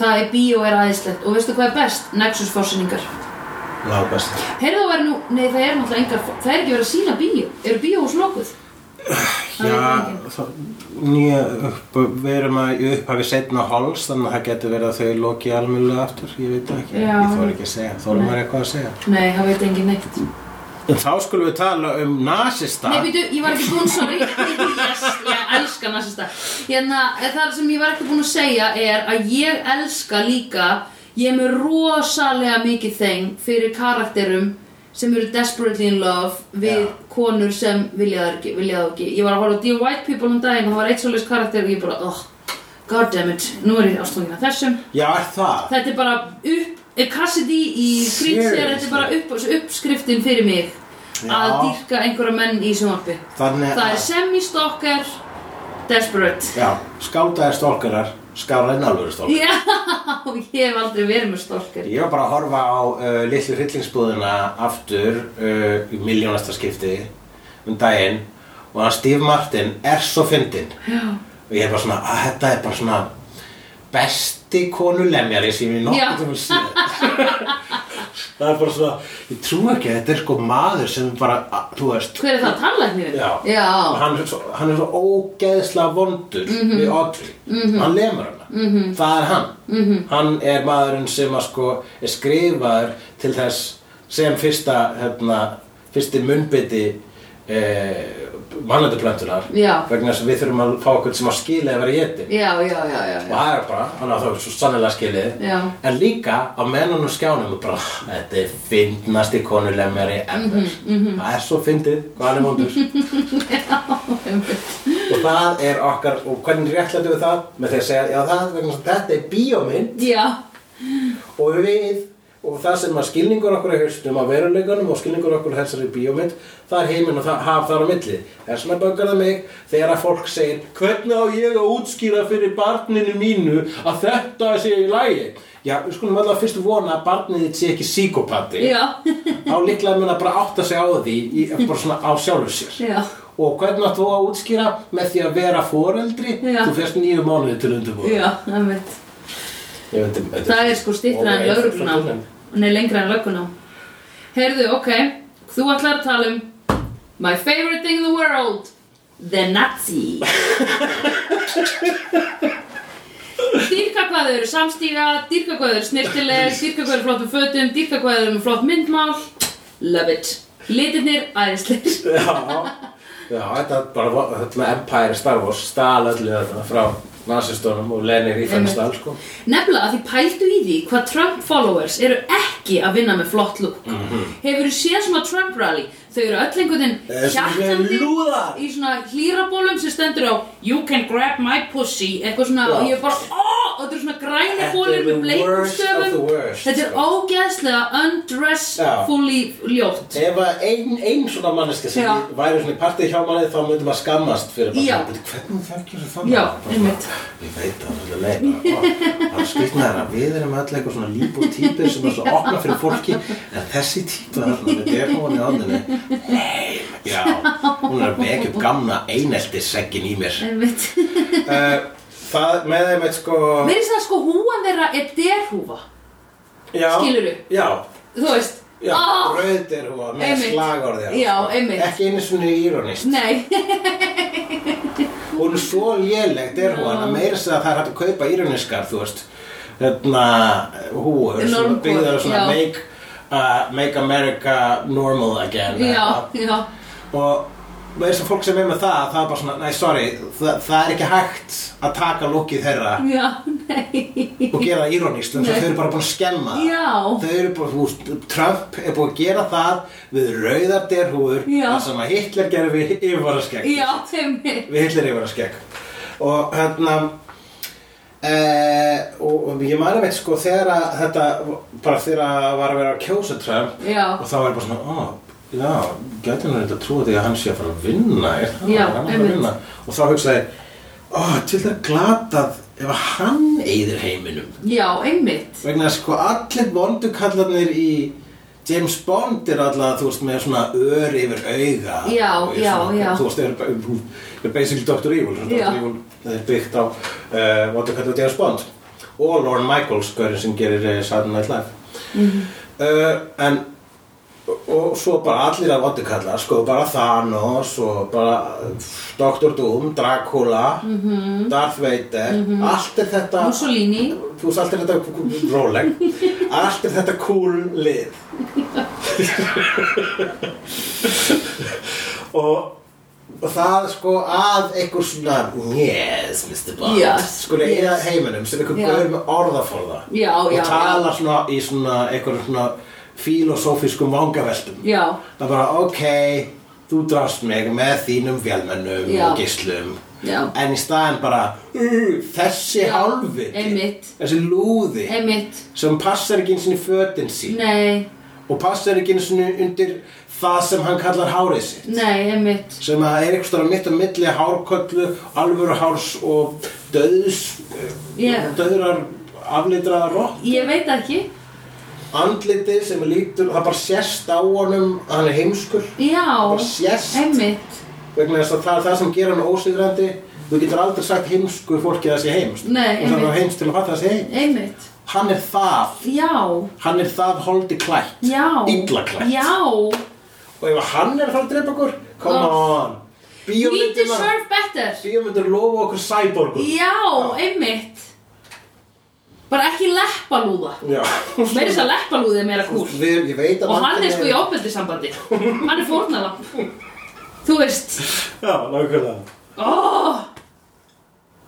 S1: Það er bíó er aðeinslegt og veistu hvað er best? Nexus fórsynningar.
S2: Ná, best.
S1: Heyrðu það væri nú, nei það er náttúrulega engar, það er ekki verið að sína bíó. Eru bíóhús lokuð? Það veit
S2: Já,
S1: enginn.
S2: það, nýja, upp, við erum að í upphafi setna háls, þannig að það getur verið að þau loki almennilega aftur, ég veit það ekki.
S1: Já.
S2: Ég þóra ekki að segja, þóra
S1: Nei.
S2: maður eitthvað að segja.
S1: Nei, það veit engin neitt.
S2: En þá skulum við tala um nasista.
S1: Nei, býtu, ég var ekki búin, sorry. Yes, ég elska nazista. Hérna, það sem ég var ekki búin að segja er að ég elska líka, ég er með rosalega mikið þeng fyrir karakterum sem eru desperately in love við
S2: Já.
S1: konur sem vilja það ekki, vilja það ekki. Ég var að horfa á Dear White People um daginn og það var eitt svoleiðis karakter og ég bara, oh, goddammit, nú er ég ástofnina þessum.
S2: Já, er það?
S1: Þetta er bara upp, eh, Cassidy í Fritzer, þetta er bara upp, uppskriftin fyrir mig
S2: Já.
S1: að dýrka einhverja menn í sjónvarpi.
S2: Þannig
S1: Það
S2: að-
S1: er semi-stalker, desperate.
S2: Já, skáldaðir stólkarar, skála en alvöru stólkarar.
S1: Já, ég hef aldrei verið með stalker.
S2: Ég var bara að horfa á uh, litlu hryllingsbúðina aftur uh, í miljónasta skipti um daginn og hann Steve Martin er svo fyndinn
S1: Já.
S2: og ég er bara svona, að þetta er bara svona besti konulemjari sem ég
S1: Já.
S2: nokkuð til að sé það er bara svona ég trú ekki að þetta er sko maður sem bara, að, þú veist
S1: Hver er það, tannlæknirinn?
S2: Já. Og
S1: Já. Mhm.
S2: hann er svo, hann er svo ógeðslega vondur við Audrey. Hann lemur hana. -hmm. Það er hann.
S1: Mhm.
S2: -hmm. Hann er maðurinn sem að sko er skrifaður til þess sem fyrsta, hérna, fyrsti munnbytti eh, mannlændu plöntunar
S1: Já.
S2: vegna þess að við þurfum að fá okkur sem að skila að vera getin
S1: Já, já, já, já,
S2: og
S1: já.
S2: það er bara, hann á það svo sannlega skilið
S1: Já.
S2: en líka á mennunum skjánum og bara, þetta er fyndnasti konulemjari ever
S1: Mhm,
S2: það er svo fyndið, hvað hann er vondur og það er okkar og hvernig réttlættu við það með því að segja, já það er vegna þess að þetta er bíómynd
S1: Já,
S2: og við og það sem að skilningur okkur í haustum á um veruleikanum og skilningur okkur í þessari bíómynd það er heiminn og það haf þar á milli þess vegna bögar það mig þegar að fólk segir hvernig á ég að útskýra fyrir barninu mínu að þetta sé í lagi já, við skulum alltaf fyrst vona að barnið þitt sé ekki psíkopati
S1: já,
S2: þá líklega mun að bara átta sig á því í, bara svona á sjálfur sér
S1: já,
S2: og hvernig átt þú að útskýra með því að vera foreldri
S1: Já.
S2: þú fyrst nýju mánuði til undirbúið
S1: já, það veit. Það er sko stýttra en lögruna Hún er lengra en löguna Heyrðu, ok, þú ætlar að tala um My favorite thing in the world The Nazi Dýrka hvað þau eru samstíga Dýrka hvað þau eru snirtileg Dýrka hvað þau eru flott með fötum Dýrka hvað þau eru með flott myndmál Love it Litirnir æðisleir
S2: Já, já, þetta er bara þetta með Empire Star Wars stál öllu þetta frá nazistunum og Lenir í þannig stál sko.
S1: Nefnilega að því pældu í því hvað Trump followers eru ekki að vinna með flott lúk mm
S2: Mhm.
S1: -hmm. Hefur séð svona Trump rally Þau eru öll einhvern
S2: Eh,
S1: veginn
S2: svona
S1: hjartandi
S2: lúðar.
S1: Í svona hlýrabólum sem stendur á You can grab my pussy Eitthvað svona
S2: Já.
S1: og ég er bara oh! Og þetta eru svona græni
S2: Þetta
S1: bólur
S2: er the
S1: með bleikum
S2: worst of the
S1: stöfum
S2: worst,
S1: Þetta er
S2: sko.
S1: ógeðslega undressfully ljótt
S2: Ef að ein, ein svona manneska sem
S1: Já.
S2: væri svona í partíð hjá manni þá myndum að skammast fyrir bara,
S1: Já.
S2: "Bíddu, Hvernig þekkir þú þannig?
S1: Já, einmitt
S2: Ég veit það, það er leið Það er skrifna þær að við erum öll eitthvað svona líbú típur sem er svo opna fyrir fólki en þessi típa þarna með derhóðan í andinni Nei, já, hún er að vekja upp gamna eineltisseggin í mér
S1: Einmitt
S2: Eh, Það með þeim eitt sko
S1: Mér er það sko húan þeirra er derhúfa
S2: já,
S1: skilurðu?
S2: Já,
S1: Þú veist
S2: já,
S1: Ah!
S2: oh, rauð er hún með
S1: Einmitt.
S2: slagorði á,
S1: Já,
S2: sko.
S1: einmitt.
S2: Ekki einu svona íronist
S1: Nei,
S2: Hún er svo lélegt er hún að meira sig að það er hægt að kaupa íroniskar, þú veist Hérna, húur sem
S1: Normkor,
S2: byggðar
S1: já.
S2: svona make, uh, make America normal again
S1: já, já
S2: og með þessum fólk sem er með það, það er bara svona, nei, sorry, það, það er ekki hægt að taka lókið þeirra
S1: Já, nei,
S2: og gera það írónist þannig
S1: Nei.
S2: að þau eru bara búin að skemma það.
S1: Já.
S2: þau eru bara, þú veist, Trump er búin að gera það við rauðar derhúður
S1: Já.
S2: það sem að Hitler gerði við yfirvaraskegg
S1: já, þeimmi
S2: við Hitler yfirvaraskegg og hérna e, og, og ég mani veit sko þegar að þetta bara þegar að var að vera að kjósa Trump
S1: Já.
S2: og þá var ég bara svona, ó Já, gæti hann reynda að trúa því að hann sé að fara að vinna er það?
S1: Já,
S2: hann er að
S1: einmitt.
S2: vinna og þá hugsaði, ó, til það glatað ef að hann eyðir heiminum
S1: Já, einmitt
S2: vegna þess sko allir vondu kallarnir í James Bond er alltaf, þú veist, með svona ör yfir auga
S1: Já,
S2: og er
S1: já,
S2: svona,
S1: já.
S2: Þú veist, er, er basically Dr. Evil svona
S1: Já.
S2: Dr. Evil það er byggt á uh, vondu kallar James Bond og Lorne Michaels, hverju sem gerir uh, Saturday Night Live
S1: Mhm.
S2: uh, en og svo bara allir að vondu kallar sko bara Thanos og bara Dr. Doom, Dracula
S1: Mhm.
S2: Darth Vader allt er þetta
S1: Mussolini
S2: þú veist allt er þetta róleg allt er þetta cool lið og, og það sko að einhver svona yes Mr. Bond
S1: Yes,
S2: skuli
S1: yes.
S2: eða heiminum sem einhver
S1: Já.
S2: gaur með orðaforða
S1: Já,
S2: og
S1: já, já.
S2: tala svona í svona einhver svona filosófískum vangaveltum
S1: Já,
S2: það er bara ok þú drast mig með þínum vélmennum
S1: Já.
S2: og gíslum
S1: Já.
S2: en í staðin bara "Ú, þessi
S1: Já,
S2: hálfviti
S1: einmitt.
S2: þessi lúði
S1: einmitt
S2: sem passar ekki eins og í fötin sín
S1: Nei,
S2: og passar ekki eins og undir það sem hann kallar hárið sitt
S1: nei, einmitt
S2: sem að er eitthvað mitt á milli hárköllu, alvöru hárs og döðs
S1: Já.
S2: döðrar aflitaða rott
S1: Ég veit ekki
S2: andliti sem er lítur, það bara sérst á honum að hann er heimskur
S1: Já,
S2: Bara sést.
S1: einmitt
S2: vegna þess að það er það sem gera hann ósigrandi þú getur aldrei sagt heimsku fólki að það sé heimst
S1: Nei,
S2: og það
S1: einmitt.
S2: er heimst til að fatta að það sé heim
S1: Einmitt
S2: hann er það,
S1: Já,
S2: hann er það holdi klætt
S1: já
S2: illa klætt
S1: Já
S2: og ef hann er að fara að drepa okkur come
S1: Oh.
S2: on
S1: We
S2: bíómyndir
S1: deserve better
S2: lofa okkur cyborgum
S1: Já, einmitt Bara ekki leppalúða
S2: Já.
S1: Meira þess að leppalúði er sko meira kúl
S2: Við, ég veit að
S1: Og hann
S2: vandinn
S1: er sko í ofbeldissambandi Hann er fórnalamp Þú veist
S2: Já, nákvæmlega
S1: oh!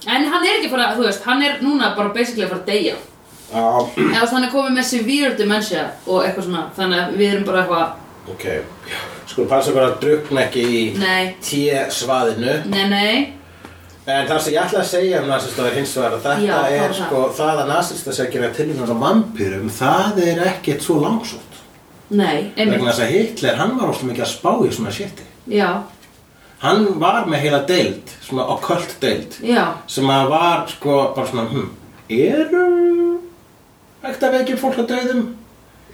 S1: En hann er ekki bara, þú veist, hann er núna bara basically að fara að deyja
S2: Já,
S1: Eða þú veist, hann er komið með severe dementia og eitthvað svona Þannig að við erum bara eitthvað
S2: ok Skulum passa bara að drukna ekki í
S1: Nei,
S2: T-svaðinu
S1: nei, nei
S2: En það sem ég ætla að segja um nasista er hins vegar að þetta
S1: Já, það
S2: er
S1: var það.
S2: sko það að nasista sé að gera tilhjóðan á vampýrum það er ekkert svo langsótt
S1: Nei,
S2: vegna
S1: einmitt
S2: þess að Hitler hann var óslega mikið að spá í svona shiti
S1: Já,
S2: hann var með heila deild svona okkult deild
S1: já,
S2: sem að var sko bara svona hm, eru hægt að vekja upp fólk að döðum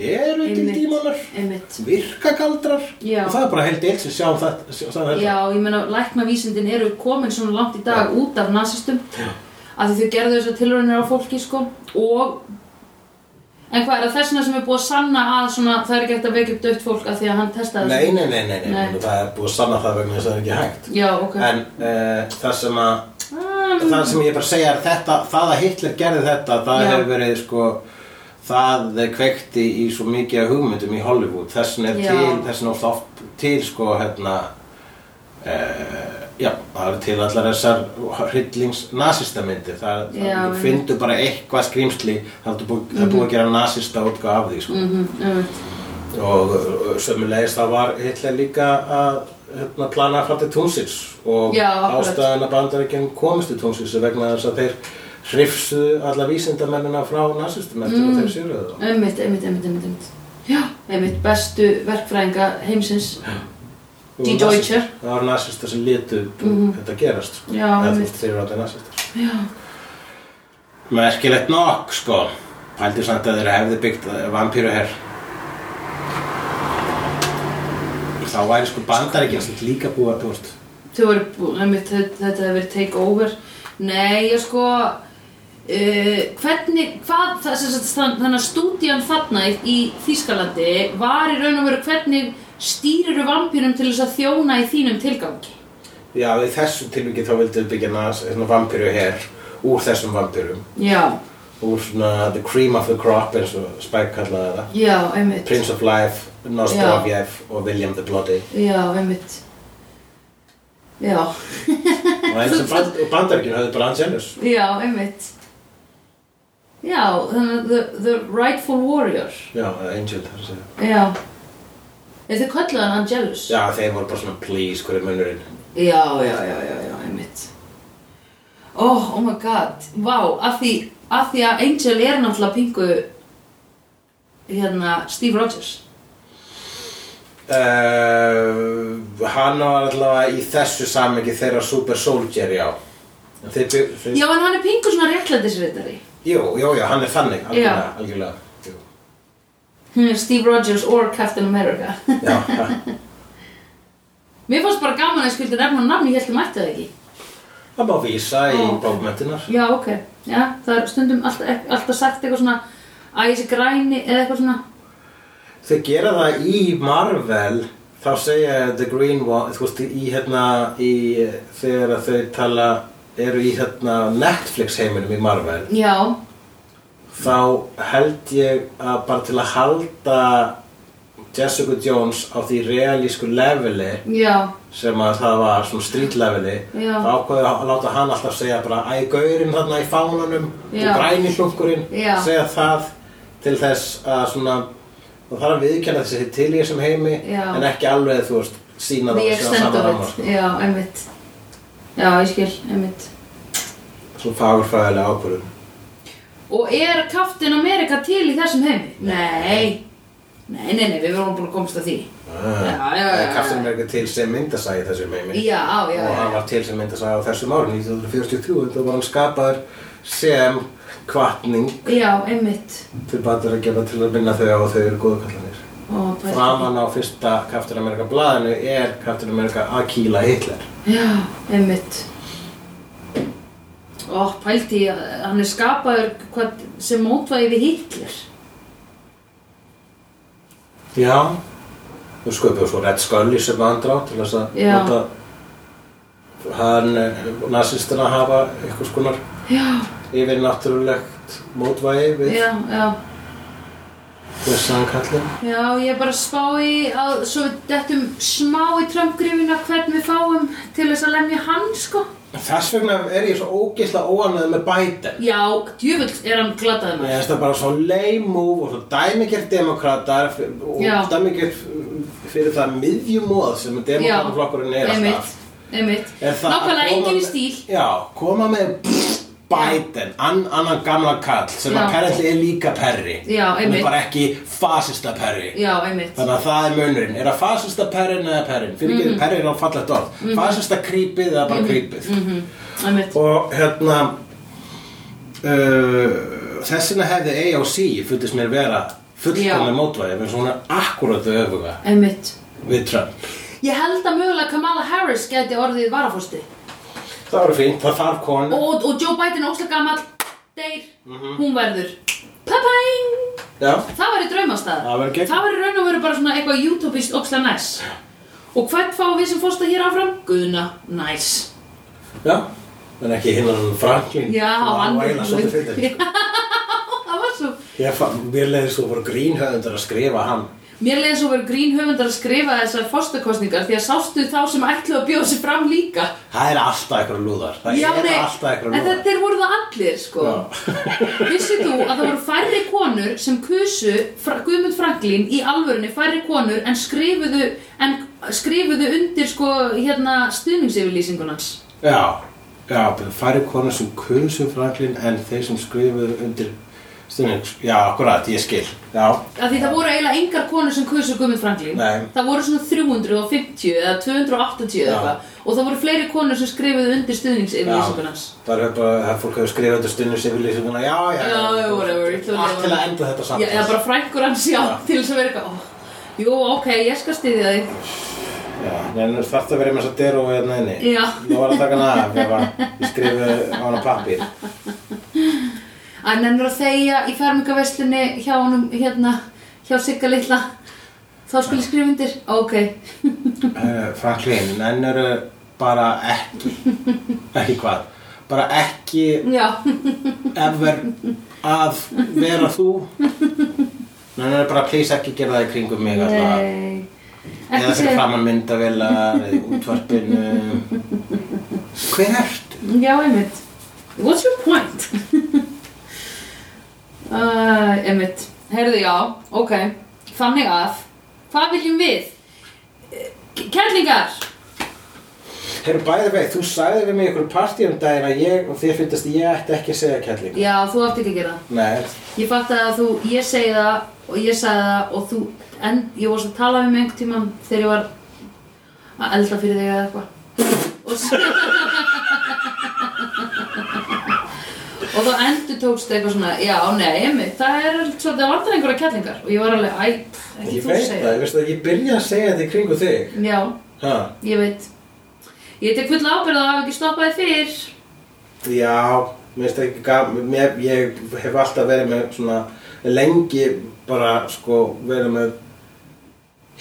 S2: eru til
S1: Einmitt.
S2: dímonar
S1: einmitt
S2: virkagaldrar
S1: Já.
S2: og það er bara heil deild sem sjá um þetta sjá, það er
S1: Já, ég meina, læknavísindin eru komin svona langt í dag út af nasistum af því þau gerðu þessar tilraunir á fólki, sko og en hvað er það þessna sem er búið að sanna að svona, það er ekki hægt að vekja upp dött fólk af því að hann testaði
S2: nei,
S1: þessu?
S2: nei, nei, nei, nei,
S1: Nei.
S2: það er búið að sanna það vegna þess að það er ekki hægt
S1: Já, ok
S2: En uh, það sem að
S1: um,
S2: það sem ég bara segja er þetta það að Hitler gerði þetta það
S1: Já.
S2: hefur verið sko það kveikti í svo mikið af hugmyndum í Hollywood þessin er
S1: Já.
S2: til, þessin er oft til sko hérna uh, já, það eru til allar þessar hryllings nasistamyndir það,
S1: Já,
S2: það
S1: einmitt.
S2: finndu bara eitthvað skrýmsli það er búið, það er búið að gera nasista útgáð af því sko
S1: mhm, einmitt.
S2: og uh, sömulegis það var Hitler líka að hérna, plana að fara til Túnsins og
S1: Já, akkurat.
S2: ástæðan að bandaríkjum komist til Túnsins er vegna þess að þeir hrifsu alla vísindamennina frá nasistum
S1: Mm.
S2: eftir að þeir sérðu það
S1: einmitt, einmitt, einmitt, einmitt, einmitt Já, einmitt, bestu verkfræðinga heimsins
S2: Og
S1: Die
S2: nasista-
S1: Deutscher. Mhm.
S2: Það var nasistar sem létu um þetta gerast sko.
S1: Já,
S2: Eða
S1: einmitt.
S2: þeir eru alltaf nasistar
S1: Já,
S2: Merkilegt nokk sko Pældi samt að þeir hefði byggt eh, vampíru herr Þá væri sko bandaríkjum sem líka búið að þú veist
S1: þau voru, bú- einmitt, þetta þetta hefur verið take over Nei, ég sko Uh, hvernig, hvað það, sem sagt, þann- þannig að stúdían þarna í, í Þýskalandi var í raun og veru hvernig stýriru vampýrum til þess að þjóna í þínum tilgangi
S2: Já, í þessu tilviki þá vildum við byggja nas, svona vampiru her úr þessum vampirum
S1: Já,
S2: úr svona the cream of the crop eins og Spike kallaði það
S1: já, einmitt
S2: Prince of Life, Nostrovjev og William the Bloody
S1: Já, einmitt Já,
S2: og eins og band, og bandaríkjum höfðu bara Angelus
S1: já, einmitt Já, þannig að the, the rightful warrior
S2: Já, eða Angel þar að segja
S1: Já Er þið kölluðu hann Angelus?
S2: Já, þeir voru bara svona please, hver er munurinn
S1: Já, já, já, já, já, einmitt Oh, oh my god Vá, af því, af því að Angel er náttúrulega pingu hérna, Steve Rogers
S2: uh, Hann var allavega í þessu samengi þeirra super soldier, já En Þeir, bygg- þeir,
S1: Já, en hann er pingu svona réttlætisritari
S2: Jú, jú, jú, hann er þannig,
S1: Já.
S2: algjörlega, algjörlega. Jú.
S1: Hmm, Steve Rogers or Captain America
S2: Já,
S1: Mér fannst bara gaman að ég skildi nefna hann nafni, ég held að mætti það ekki
S2: það má vísa í
S1: Ó.
S2: bókmentinar
S1: Já, ok, já, það er stundum alltaf, alltaf sagt eitthvað svona Æ, þessi græni eða eitthvað svona
S2: Þau gera það í Marvel þá segja The Green One þú veist, í hérna í, þegar að þau tala eru í hérna Netflix heiminum í Marvel
S1: Já,
S2: þá held ég að bara til að halda Jessica Jones á því realísku leveli
S1: já,
S2: sem að það var svona street leveli
S1: Já.
S2: þá ákveðu að láta hann alltaf segja bara æ, gaurinn þarna í fánanum
S1: Já.
S2: og græni hlunkurinn
S1: Já.
S2: segja það til þess að svona það þarf að viðkjanna þessi til í þessum heimi
S1: Já.
S2: en ekki alveg þú veist sína
S1: the
S2: það
S1: extent of it
S2: sko.
S1: Já, einmitt Já, ég skil, einmitt
S2: svona fagurfræðilega ákvörðun
S1: Og er Captain America til í þessum heimi? Nei Nei, nei, nei, við vorum búin að komast að því
S2: Ah.
S1: Já, já, já, já.
S2: Kaftin Amerika til sem myndasæði þessum heimi
S1: Já, já,
S2: og hann
S1: já
S2: var til sem myndasæði á þessum ári 1943 þá var hann skapaður sem kvartning
S1: Já, einmitt
S2: til batur að gefa til að minna þau á að þau eru góðu kallanir
S1: Ó, pældi.
S2: framan á fyrsta Captain America blaðinu er Captain America að kýla Hitler
S1: Já, einmitt Ó, pælti, ég, hann er skapaður hvað, sem mótvæði við Hitler
S2: já þú sköpuðu svo Red Scully sem andrá til þess að
S1: Já.
S2: láta hann eh, nasistina hafa einhvers konar
S1: Já,
S2: yfirnáttúrulegt mótvægi við
S1: já, já
S2: blessaðan kallinn
S1: Já, ég er bara að spá í að svo við dettum smá í trömmgrifina hvern við fáum til þess að lemja hann, sko.
S2: Þess vegna er ég svo ógeðslega óanæð með Biden
S1: Já, djöfull er hann glataði
S2: Ég
S1: maður.
S2: finnst það bara svo leimúf og svo dæmikert demokratar og
S1: Já.
S2: dæmikert fyrir það miðjumóð sem demokrataflokkurinn er
S1: einmitt, einmitt.
S2: Er það að
S1: Nákvæmlega
S2: koma
S1: engin í
S2: með-
S1: stíl.
S2: Já, koma með pff, Biden, ann, annan gamla kall sem
S1: Já.
S2: apparently er líka perri
S1: Já,
S2: Hann
S1: einmitt.
S2: er bara ekki fasista perri
S1: Já, einmitt.
S2: Þannig að það er munurinn, er það fasista perrin eða perrin? Fyrir
S1: Mhm.
S2: ekki mm -hmm. perrin á fallegt orð Fasista creepið eða bara creepið
S1: Mhm. Einmitt.
S2: Og hérna uh, Þessina hefði AOC fundist mér vera
S1: Já.
S2: fullkomlega mótvæði eins og hún er akkurat þau öfuga
S1: Einmitt.
S2: við Trump
S1: Ég held að mögulega Kamala Harris gæti orðið varafósti.
S2: Það var fínt, það þarf konu
S1: Og, og Joe Biden óslega gamall, deyr,
S2: Mhm.
S1: hún verður. Papaing!
S2: Já,
S1: Það væri draumastæða.
S2: Það væri gegn.
S1: Það væri raun og veru bara svona eitthvað utopist óksla næs. Og hvert fáum við sem fórsta hér áfram? Guðna, næs.
S2: já En ekki hinn hann Franklin
S1: Já,
S2: sem var
S1: hann-
S2: að væla svolítið
S1: Já,
S2: fyrir
S1: það var svo.
S2: Ég fann, mér leiði svo voru grínhöðundar að skrifa hann
S1: Mér leiði svo verið grín höfundar að skrifa þessar fórstakostningar því að sástu þá sem ætlu að bjóða sér fram líka.
S2: Það er alltaf eitthvað lúðar Það er alltaf eitthvað
S1: en
S2: lúðar
S1: þetta voru það allir, sko.
S2: Já.
S1: Vissið þú að það voru færri konur sem kusu Fra Guðmund Franklín í alvörunni færri konur en skrifuðu, en skrifuðu undir, sko, hérna, stuðningsyfirlýsingunans.
S2: Já, já, færi konur sem kursu Franklin en þeir sem skrifuðu undir stundin, já, akkurat, ég skil, já,
S1: Af því það voru eiginlega engar konur sem kusu Guðmund Franklín
S2: Nei.
S1: Það voru svona 350 eða 280 eða
S2: Já.
S1: eitthvað Og það voru fleiri konur sem skrifuðu undir
S2: já,
S1: stuðningsyfirlýsingunans
S2: bara, bara það er fólk hefur skrifað undir stundin sem við lýsum, já, já,
S1: Já, já, whatever ég trúi
S2: allt til að
S1: honum.
S2: enda þetta
S1: Já,
S2: samt,
S1: eða bara frængur hans, já,
S2: Já.
S1: til þess að vera eitthvað ó, Jú, ok, ég skal styðja þig
S2: já, en þú þarft að vera með þess að dero við hérna inni,
S1: Já.
S2: nú var að taka hana af, ef að ég skrifu á hana pappir,
S1: Að nennur að þegja í fermingaveslunni hjá honum, hérna, hjá Sigga litla Þá skal ég skrifa undir, ok
S2: uh, Franklin, en eru bara ekki, ekki hvað, bara ekki
S1: Já,
S2: ever að vera þú Nei, nei, bara please ekki gera það í kringum mig alltaf
S1: nei
S2: Eða
S1: Ekki
S2: fyrir
S1: segja,
S2: framann myndavélar eða í útvarpinu Hver ertu?
S1: já, einmitt What's your point? uh, einmitt, heyrðu, já, ok Þannig að, hvað viljum við? Kærlingar,
S2: Herru, bæði vei, þú sagði við mig í einhverju partí um daginn að ég og þér finnst að ég ætti ekki að segja kærling
S1: já, þú átt ekki að gera það
S2: Nei,
S1: Ég fatt að þú, ég segi það og ég sagði það og þú, en ég var svo að tala við mig einhvern tímann þegar ég var að elda fyrir þig eða eitthvað og svo og þá endur tókst eitthvað svona, já, nei, einmitt, það er svo, það vantar einhverja kellingar og ég var alveg, æ, pff, ekki
S2: ég
S1: þú
S2: veit
S1: segja
S2: það, ég veist það, ég byrja að segja þetta í kringu þig
S1: Já,
S2: ha.
S1: ég veit Ég tek fulla ábyrgð að hafa ekki stoppaði fyrr
S2: Já, mér finnst ekki gaman, mér, ég hef alltaf verið með svona lengi bara sko verið með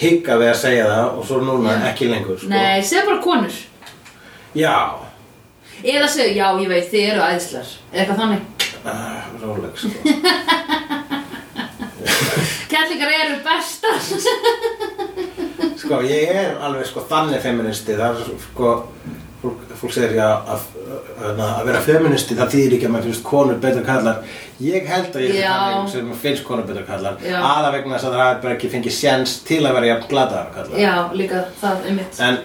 S2: higga við að segja það og svo núna ekki lengur sko.
S1: Nei, segðu bara konur
S2: Já,
S1: Eða segðu, já, ég veit, þið eru æðslar Eða eitthvað þannig
S2: uh, róleg sko.
S1: Kellingar eru bestar
S2: sko, ég er alveg sko þannig feministi, það er sko, fólk, fólk segir já að, að, að vera feministi það þýðir ekki að maður finnst konur betur en kallar. Ég held að ég er
S1: Já.
S2: þannig sem finnst konur betur en kallar,
S1: Já.
S2: aða vegna þess að það er bara ekki fengið séns til að vera jafn gladaðar kallar.
S1: Já, líka það, einmitt
S2: En,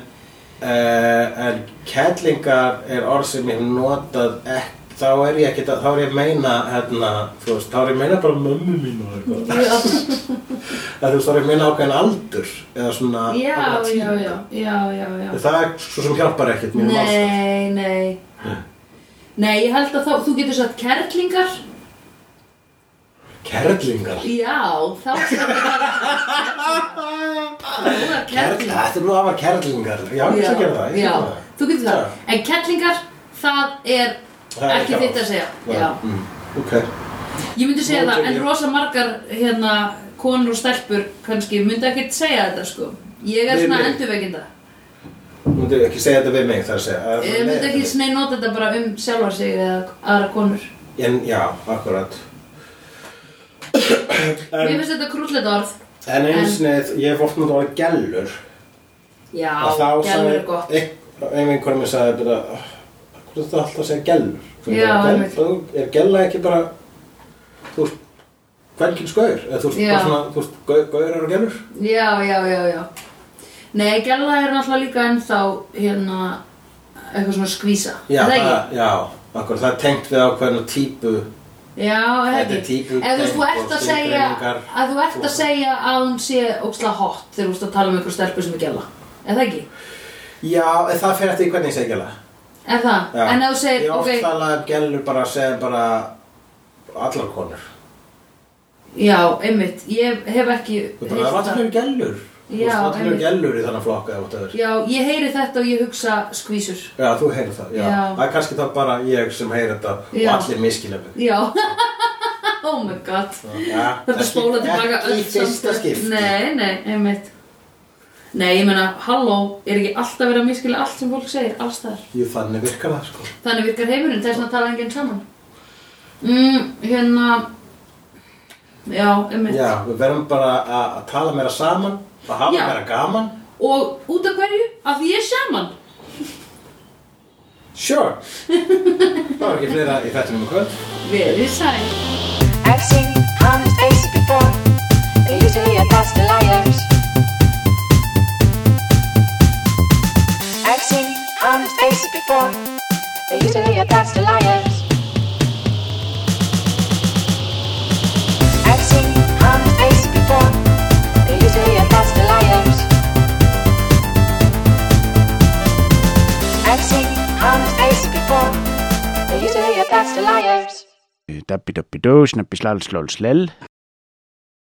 S2: uh, en kellingar er orð sem ég hef notað ekki, þá er ég ekkert að, þá er ég að meina, hérna, þú veist, þá er ég að meina bara mömmu mín og eitthvað.
S1: Já,
S2: Það þú veist, þá er ég að meina ákveðin aldur, eða svona...
S1: já,
S2: ákveðna
S1: já,
S2: tíma.
S1: já, já, já, já.
S2: En Það er svo sem hjálpar ekkert um mínum ástæð.
S1: Nei, nei Nei, ég held að þá, þú getur sagt kerlingar
S2: Kerlingar.
S1: Já, þá Þú er
S2: Kerlingar,
S1: kerlingar
S2: þetta er nú afar kerlingar. Já, ég skal gera það, ég
S1: já,
S2: skal gera það.
S1: þú getur
S2: Já.
S1: það En kerlingar, það er
S2: Það er
S1: ekki
S2: ekki
S1: þitt að segja
S2: Já.
S1: Já,
S2: Mm, ok.
S1: ég myndi segja
S2: Nú
S1: það
S2: tek
S1: En
S2: ég-
S1: rosa margar, hérna, konur og stelpur kannski, myndi ekkert segja þetta, sko Ég er
S2: Nei,
S1: svona
S2: nei.
S1: endurveikinda
S2: Þú myndir ekki segja þetta við mig, það er að segja.
S1: Ég
S2: Það er svo
S1: myndi
S2: leiðinlegt.
S1: Eh, ekki snei nota þetta bara um sjálfar sig eða aðra konur
S2: En já, akkurat
S1: Mér
S2: En,
S1: finnst þetta krúllet orð.
S2: en
S1: en-
S2: eins og ég hef oft náttúrulega gælur
S1: Já,
S2: og þá
S1: gælur er gott.
S2: sagði ein vinkona mér sagði bara "Ah, hvað er þetta alltaf að segja gellur Þú
S1: Já,
S2: bara,
S1: einmitt.
S2: gell- þú- er gella ekki bara þú veist hvernig skaur eða þú veist
S1: Já.
S2: bara svona þú veist gau- gaurar og gellur
S1: Já, já, já, já. Nei, gæla er náttúrulega líka ennþá hérna eitthvað svona skvísa.
S2: já,
S1: Er það ekki?
S2: það, já, akkur það er tengt við ákveðna típu
S1: Já, er það
S2: Þetta er
S1: ekki.
S2: típur-
S1: Eða þú veist, þú
S2: og
S1: ert að segja
S2: skilgreiningar.
S1: að þú ert að segja að hún sé óksla hot þegar þú ert að tala um einhver stelpu sem er gæla. Er það ekki?
S2: já, en það fer eftir því hvernig ég segi gella
S1: Er það?
S2: já.
S1: En ef þú segir,
S2: ég hef oft
S1: ok,
S2: talað um gellur bara að segja bara allar konur
S1: já, einmitt, ég hef ekki
S2: þú bara það er
S1: heyrt
S2: allar gellur þú
S1: Já,
S2: veist allar
S1: einmitt.
S2: gellur í þannig flokka eða whatever.
S1: Já, ég heyri þetta og ég hugsa skvísur.
S2: Já, þú heyrir það, já.
S1: Já.
S2: Það er kannski þá bara ég sem heyrir þetta
S1: Já.
S2: og allir miskilja mig.
S1: Já, oh my god.
S2: Já,
S1: Þetta
S2: ekki-
S1: spóla tilbaka
S2: ekki í fyrsta
S1: samtöl.
S2: skipti.
S1: Nei, nei, einmitt. Nei, ég meina, halló, er ekki alltaf verið að miskila allt sem fólk segir, allstaðar?
S2: Jú, þannig virkar það, sko.
S1: Þannig virkar heimurinn, þess að tala enginn saman. Mm, hérna, já, einmitt.
S2: Já, við verðum bara að að tala meira saman, að hafa
S1: Já.
S2: meira gaman.
S1: Og út af hverju? Af því ég er saman.
S2: Sure. það var ekki fleira í þetta um kvöld.
S1: Verið sæl.
S3: I've seen honest faces before. They're usually a pass of liars. I've seen honest faces before. They're usually a pass of liars. I've seen honest faces before. They're usually a pass of liars. I've seen honest faces before. They're usually a pass of liars.
S4: Dabbi dabbi dó, snabbi slal slól slell.